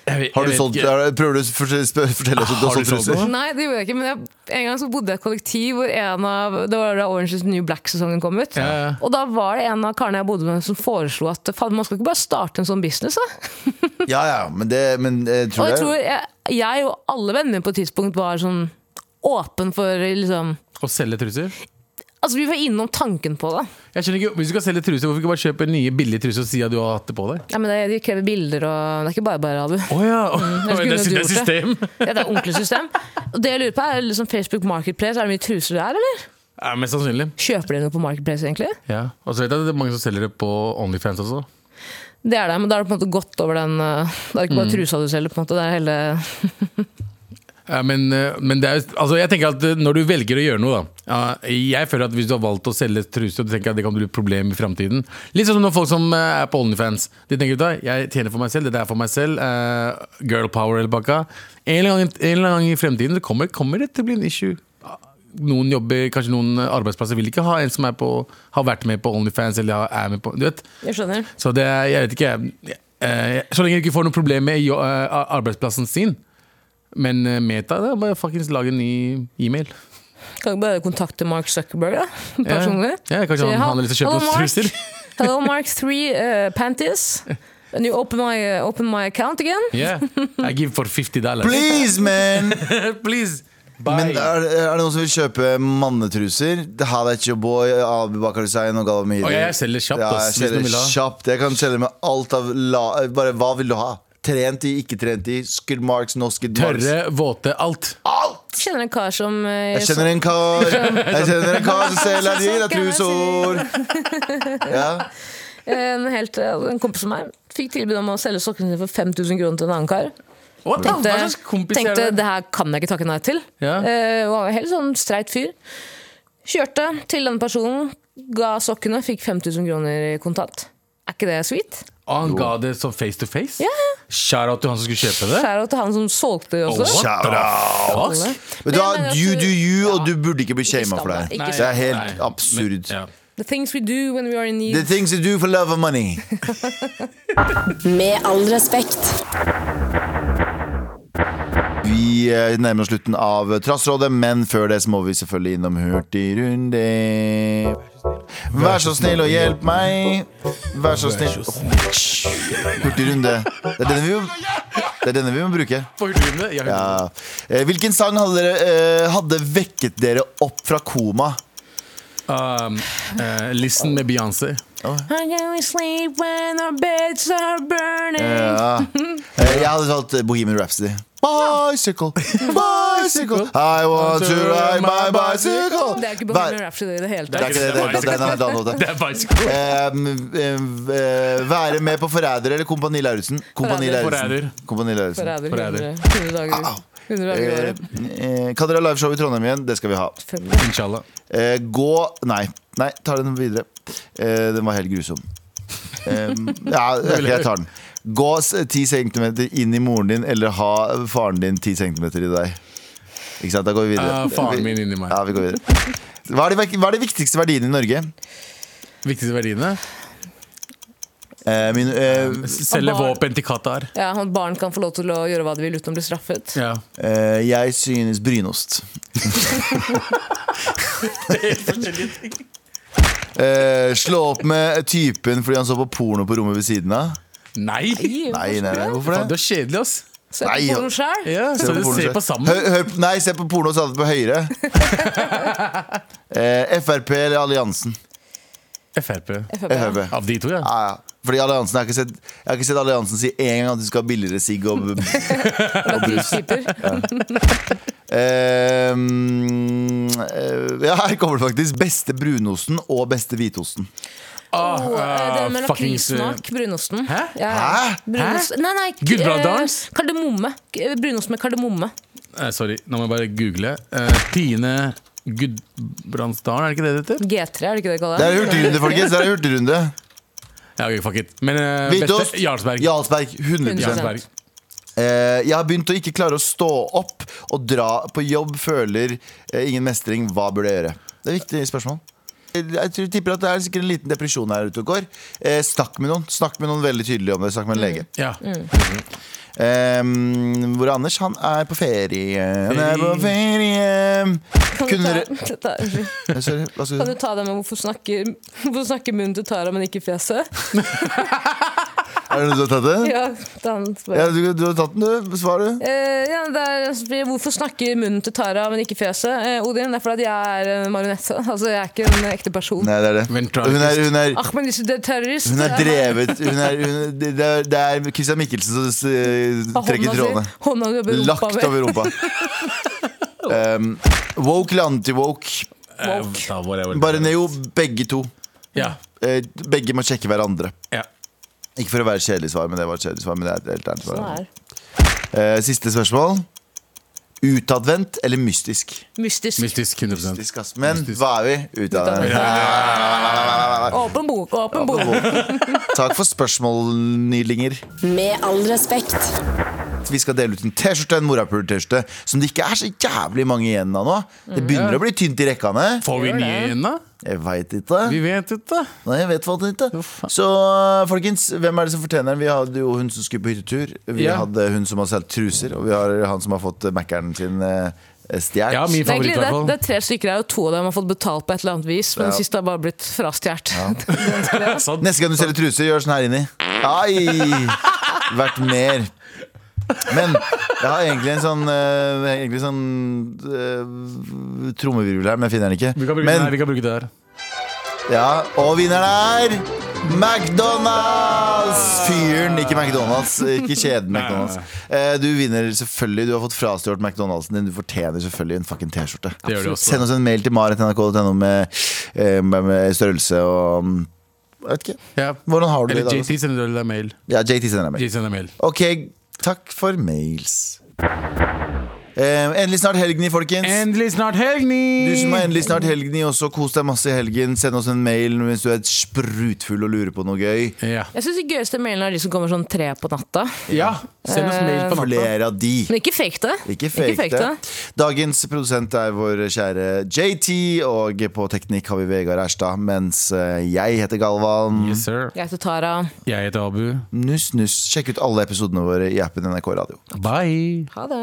Speaker 2: Har du solgt, har- prøver du å fortelle fortelle oss at du
Speaker 3: Har
Speaker 2: har
Speaker 3: du
Speaker 2: solgt
Speaker 3: solgt
Speaker 2: truser?
Speaker 3: noe?
Speaker 4: Nei, det gjorde jeg ikke, men jeg, en gang så bodde jeg i et kollektiv hvor en av Det var da Orange is the New Black-sesongen kom ut.
Speaker 3: Ja, ja.
Speaker 4: Og da var det en av karene jeg bodde med som foreslo at faen, man skal ikke bare starte en sånn business, da.
Speaker 2: Ja ja, men det men, jeg tror
Speaker 4: Og jeg
Speaker 2: det.
Speaker 4: tror jeg, jeg og alle vennene mine på et tidspunkt var sånn åpen for liksom
Speaker 3: Å selge truser?
Speaker 4: Altså, vi var innom tanken på det.
Speaker 3: Jeg skjønner ikke, Hvis du skal selge truser, hvorfor ikke bare kjøpe nye billige truser og si at du har hatt det på deg?
Speaker 4: Ja, men det, de krever bilder, og det er ikke bare bare, Abu.
Speaker 3: Å ja!
Speaker 2: Mm,
Speaker 4: ellers kunne
Speaker 3: det, er,
Speaker 4: du
Speaker 3: det er
Speaker 4: gjort det.
Speaker 3: system!
Speaker 4: Ja, det er ordentlig system. Og det jeg lurer på, er liksom Facebook Marketplace. Er det mye truser der, eller?
Speaker 3: Ja, mest sannsynlig.
Speaker 4: Kjøper de noe på Marketplace, egentlig?
Speaker 3: Ja. Og så vet jeg at det er mange som selger det på Onlyfans også.
Speaker 4: Det er det, men da er det på en måte gått over den eh, Det er ikke
Speaker 3: Mm.
Speaker 4: bare trusa du selger, på en måte. Det er hele
Speaker 3: Ja, men, eh, men det er, jo- altså, jeg tenker at eh, når du velger å gjøre noe, da ja, Jeg føler at hvis du har valgt å selge truser, og du tenker at det kan bli et problem i framtiden Litt sånn som når folk som eh, er på Onlyfans. De tenker da, jeg tjener for meg selv, dette er for meg selv. eh, girl power eller bakka. En eller annen, en eller annen gang i fremtiden så kommer, kommer det til å bli en issue. Noen jobber, kanskje noen arbeidsplasser vil ikke ha en som er på, har vært med på Onlyfans eller har- er med på Du vet.
Speaker 4: Jeg skjønner.
Speaker 3: Så det er, jeg vet ikke jeg- eh, Så lenge du ikke får noe problem med jo- eh, arbeidsplassen sin Men eh, Meta, det er bare fuckings lage en ny e-mail
Speaker 4: Kan ikke bare kontakte Mark Zuckerberg, da?
Speaker 3: Ja.
Speaker 4: Personlig.
Speaker 3: Ja, kanskje han,
Speaker 4: Sier,
Speaker 3: han har lyst til å
Speaker 4: «Hallo,
Speaker 3: kjøpe oss
Speaker 4: Mark.
Speaker 3: truser
Speaker 4: Hello, Mark 3 uh, panties. And you open my, eh, open my account again?
Speaker 3: Yeah, I give for 50 dollars
Speaker 2: Please, man!
Speaker 3: Please,
Speaker 2: Men
Speaker 3: buy
Speaker 2: er, er det noen som vil kjøpe mannetruser? Had at your boy, Abu Bakar Hussein og Galvan Mihidi.
Speaker 3: Å, jeg selger kjapt,
Speaker 2: Ja,
Speaker 3: ass,
Speaker 2: jeg
Speaker 3: hvis noen vil
Speaker 2: selger
Speaker 3: ha.
Speaker 2: kjapt. Jeg kan selge med alt av la, Bare hva vil du ha? Trent i, ikke trent i, skid marks, no skid marks.
Speaker 3: Tørre, våte, alt
Speaker 2: Alt!
Speaker 4: Kjenner en kar som eh,
Speaker 2: Jeg kjenner en kar Jeg kjenner en kar som selger dyr av trusor. Ja.
Speaker 4: en, helt, eh, en kompis som meg fikk tilbud om å selge sokkene sine for 5000 kroner til en annen kar.
Speaker 3: What the-
Speaker 4: Tenkte,
Speaker 3: Hva slags kompis er
Speaker 4: tenkte
Speaker 3: det?
Speaker 4: det her kan jeg ikke takke nei til.
Speaker 3: Ja.
Speaker 4: Eh, og var en helt sånn streit fyr. Kjørte til denne personen, ga sokkene, fikk 5000 kroner i kontant. Er ikke det sweet?
Speaker 3: Og han ga det sånn face to face
Speaker 4: Ja.
Speaker 3: Shout out til han som skulle kjøpe det
Speaker 4: Skjæra til han som solgte det også.
Speaker 3: What
Speaker 2: Shout
Speaker 3: the
Speaker 2: Oh,
Speaker 4: Alle.
Speaker 3: fuck?
Speaker 2: Vet du
Speaker 4: Men jeg
Speaker 2: hva,
Speaker 4: mener at
Speaker 2: you
Speaker 4: du-
Speaker 2: do you, og
Speaker 4: Ja.
Speaker 2: du burde ikke bli shama
Speaker 4: skam
Speaker 2: for
Speaker 4: deg,
Speaker 2: det.
Speaker 4: ikke
Speaker 2: Det er
Speaker 3: Nei,
Speaker 2: helt
Speaker 3: men-
Speaker 2: absurd.
Speaker 3: ja.
Speaker 4: The things we do when we are in need.
Speaker 2: The things you do for love and money.
Speaker 1: Med all respekt.
Speaker 2: Vi eh, nærmer oss slutten av Trassrådet, men før det så må vi selvfølgelig innom Hurtigrunde. Vær så snill og hjelp meg. Vær så snill Hurtigrunde. Det er denne vi må, det er denne vi må bruke.
Speaker 3: På Hurtigrunde? Jeg hørte
Speaker 2: Ja. Eh, Hvilken sang hadde, dere, eh, hadde vekket dere opp fra koma?
Speaker 3: um, eh, Listen med Beyoncé.
Speaker 4: How can we sleep when our beds are burning?
Speaker 2: Ja. Eh, Jeg hadde valgt Bohemian Rhapsody. Bicycle, bicycle I want to ride my bicycle
Speaker 4: Det er jo ikke
Speaker 2: Hver-
Speaker 4: Bohemian Rhapsody i det hele
Speaker 2: Det er
Speaker 4: tatt.
Speaker 2: ikke det, det, det, det er en helt annen låt.
Speaker 3: Det er bicycle.
Speaker 2: Eh, eh, eh, være med på Forræder eller Kompani Lauritzen? Kompani
Speaker 4: Forræder.
Speaker 2: Lauritzen. Kompani Lauritzen.
Speaker 4: Forræder.
Speaker 3: Forræder.
Speaker 4: 100 100 dager. 100 dager i året.
Speaker 2: Eh, eh, kan dere ha liveshow i Trondheim igjen? Det skal vi ha.
Speaker 4: Selvfølgelig.
Speaker 3: Inshallah.
Speaker 2: Eh, gå Nei, nei, ta den videre. Eh, den var helt grusom. Eh, ja, ok, jeg tar den. Gå s- 10 cm inn i moren din, eller ha faren din 10 cm i deg. Ikke sant? Da går vi videre.
Speaker 3: Eh, faren min inni meg.
Speaker 2: Ja, vi går videre. Hva er, de, vek- hva er de viktigste verdiene i Norge?
Speaker 3: Viktigste verdiene?
Speaker 2: Eh, min, eh,
Speaker 3: Selge
Speaker 4: Og barn.
Speaker 3: våpen til Qatar.
Speaker 4: Ja, og barn kan få lov til å gjøre hva de vil uten å bli straffet.
Speaker 3: Ja.
Speaker 2: Eh, jeg synes brynost. Eh, slå opp med typen fordi han så på porno på rommet ved siden av.
Speaker 3: Nei!
Speaker 2: Nei, nei, nei, hvorfor
Speaker 3: Faen, du
Speaker 2: det?
Speaker 3: er kjedelig, ass.
Speaker 4: Se
Speaker 2: Nei, ja.
Speaker 4: på porno selv.
Speaker 3: Ja, så du
Speaker 2: porno
Speaker 3: ser
Speaker 2: selv.
Speaker 3: på sammen.
Speaker 2: Hør, hør, nei, se på porno og sa det på høyre. Eh, Frp eller Alliansen? Eh,
Speaker 3: Frp.
Speaker 2: FrP.
Speaker 3: Av de to, ja.
Speaker 2: Ja, ja. Fordi Alliansen, jeg har, ikke sett, jeg har ikke sett Alliansen si én gang at du skal ha billigere sigg og, og brus.
Speaker 4: Keeper.
Speaker 2: Eh, mm, eh, ja, her kommer det faktisk. Beste brunosten og beste hvitosten.
Speaker 3: Ah,
Speaker 4: Oh, eh,
Speaker 3: eh,
Speaker 4: det med
Speaker 3: fuckings, eh,
Speaker 4: lakrismak, brunosten.
Speaker 3: Hæ?
Speaker 4: Ja, ja.
Speaker 2: Hæ?
Speaker 4: Brunost. Nei, nei, k-
Speaker 3: Gudbrandsdalens?
Speaker 4: eh, Kardemomme. K- Brunost med kardemomme.
Speaker 3: eh, Sorry, nå må jeg bare google. Eh, Pine Gudbrandsdalen, er det ikke det det heter?
Speaker 4: G3, er det ikke det de kaller
Speaker 2: Det er hurtigrunde, folkens. Det er hurtigrunde.
Speaker 3: Ja, ok, fuck it. Men eh,
Speaker 2: Hvitost.
Speaker 3: beste Jarlsberg.
Speaker 2: Jarlsberg, 100%.
Speaker 4: 100%.
Speaker 3: Jarlsberg.
Speaker 2: Eh, jeg har begynt å ikke klare å stå opp og dra på jobb. Føler eh, ingen mestring. Hva burde jeg gjøre? Det er et viktig spørsmål. Eh, Jeg tror, tipper at det er sikkert en liten depresjon her ute og går. Eh, snakk med noen. Snakk med noen veldig tydelig om det. Snakk med en lege.
Speaker 3: Ja.
Speaker 2: Eh, hvor er Anders? Han er på ferie. Han er på ferie.
Speaker 4: Kan du
Speaker 2: Kunne
Speaker 4: ta-
Speaker 2: dere
Speaker 4: ta- unnskyld.
Speaker 2: Eh, Sorry, hva
Speaker 4: Kan
Speaker 2: skal
Speaker 4: du
Speaker 2: du
Speaker 4: ta det med hvorfor snakker, hvorfor snakker munnen til Tara, men ikke fjeset?
Speaker 2: Er det noen som har tatt det?
Speaker 4: Ja, den spør.
Speaker 2: Ja,
Speaker 4: jeg.
Speaker 2: du, du har tatt den, du. Svar, du.
Speaker 4: Eh, ja, det er, spør jeg, hvorfor snakker munnen til Tara, men ikke fjeset? Eh, Odin, det er fordi at jeg er en marionette. Altså, jeg er ikke en ekte person. Ah,
Speaker 2: Nei, det er det.
Speaker 3: Ventriloquist.
Speaker 2: Hun er, hun er
Speaker 4: Ahmed Yusuf, det er terrorist. eh,
Speaker 2: Hun er drevet hun er, hun, det, det er, det er Christian Mikkelsen som eh,
Speaker 4: Av
Speaker 2: trekker
Speaker 4: hånda si-
Speaker 2: trådene.
Speaker 4: Hånda du har berumpa
Speaker 2: Lagt over rumpa. Um, woke eller anti-woke?
Speaker 3: Eh, ta whatever.
Speaker 2: Bare Neo, begge to.
Speaker 3: Ja.
Speaker 2: Eh, Begge må sjekke hverandre.
Speaker 3: ja.
Speaker 2: Ikke for å være kjedelig svar, men det var et kjedelig svar. Men det er et helt ærlig svar.
Speaker 4: Sånn er.
Speaker 2: Eh, siste spørsmål. Utadvendt eller mystisk?
Speaker 4: Mystisk.
Speaker 3: Mystisk 100
Speaker 2: Mystisk, ass. Men hva er vi? Utadvendt.
Speaker 4: Åpen bok. Åpen bok.
Speaker 2: Takk for spørsmål, nylinger.
Speaker 1: Med all respekt.
Speaker 2: Vi skal dele ut en T-skjorte, en morapuler-T-skjorte, som det ikke er så jævlig mange igjen av nå. Det begynner å bli tynt i rekkene.
Speaker 3: Får vi nye igjen, da?
Speaker 2: Jeg veit ikke.
Speaker 3: Vi vet ikke.
Speaker 2: Nei, jeg vet faktisk ikke. Så folkens, hvem er det som fortjener den? Vi hadde jo hun som skulle på hyttetur. Vi
Speaker 3: Ja.
Speaker 2: hadde hun som har solgt truser, og vi har han som har fått eh, Mac-eren sin eh, stjålet.
Speaker 3: Ja, min
Speaker 4: Det er, egentlig,
Speaker 3: favoritt, i
Speaker 4: det,
Speaker 3: hvert fall.
Speaker 4: det er tre stykker her, og to av dem har fått betalt på et eller annet vis. Men den siste har bare blitt frastjålet.
Speaker 3: Sånn.
Speaker 2: Neste gang du selger truser, gjør sånn her inni. Ai! Vært mer. Men jeg har egentlig en sånn, eh, egentlig sånn eh, trommevirvel her, men jeg finner den ikke.
Speaker 3: Vi kan bruke,
Speaker 2: men,
Speaker 3: nei, vi kan bruke det her.
Speaker 2: Ja, og vinneren er McDonald's!
Speaker 3: Ah.
Speaker 2: Fyren, ikke McDonald's. Ikke kjeden McDonald's. Eh, Du vinner selvfølgelig. Du har fått frastjålet McDonald'sen din. Du fortjener selvfølgelig en fucking T-skjorte.
Speaker 3: Det gjør du også.
Speaker 2: Send oss en mail til maret.nrk.no med, eh, med, med størrelse og mm, Jeg vet ikke.
Speaker 3: Ja.
Speaker 2: Hvordan har du det i
Speaker 3: Eller
Speaker 2: dag?
Speaker 3: JT sender deg mail.
Speaker 2: Ja, JT sender deg mail.
Speaker 3: JT sender mail.
Speaker 2: Ok, takk for mails. Eh, endelig snart helgen, folkens.
Speaker 3: Endelig snart helgni!
Speaker 2: Du som er har endelig snart helgen i også, kos deg masse i helgen. Send oss en mail hvis du er sprutfull og lurer på noe gøy.
Speaker 3: Ja.
Speaker 4: Jeg syns de gøyeste mailene er de som kommer sånn tre på natta.
Speaker 3: ja. Send oss mail på natta.
Speaker 2: Flere av de.
Speaker 4: Men ikke fake det.
Speaker 2: Ikke fake det. Dagens produsent er vår kjære JT, og på teknikk har vi Vegard Erstad, mens eh, jeg heter Galvan.
Speaker 3: Yes, sir.
Speaker 4: Jeg heter Tara.
Speaker 3: Jeg heter Abu.
Speaker 2: Nuss, nuss. Sjekk ut alle episodene våre i appen NRK Radio.
Speaker 3: Bye.
Speaker 4: Ha det.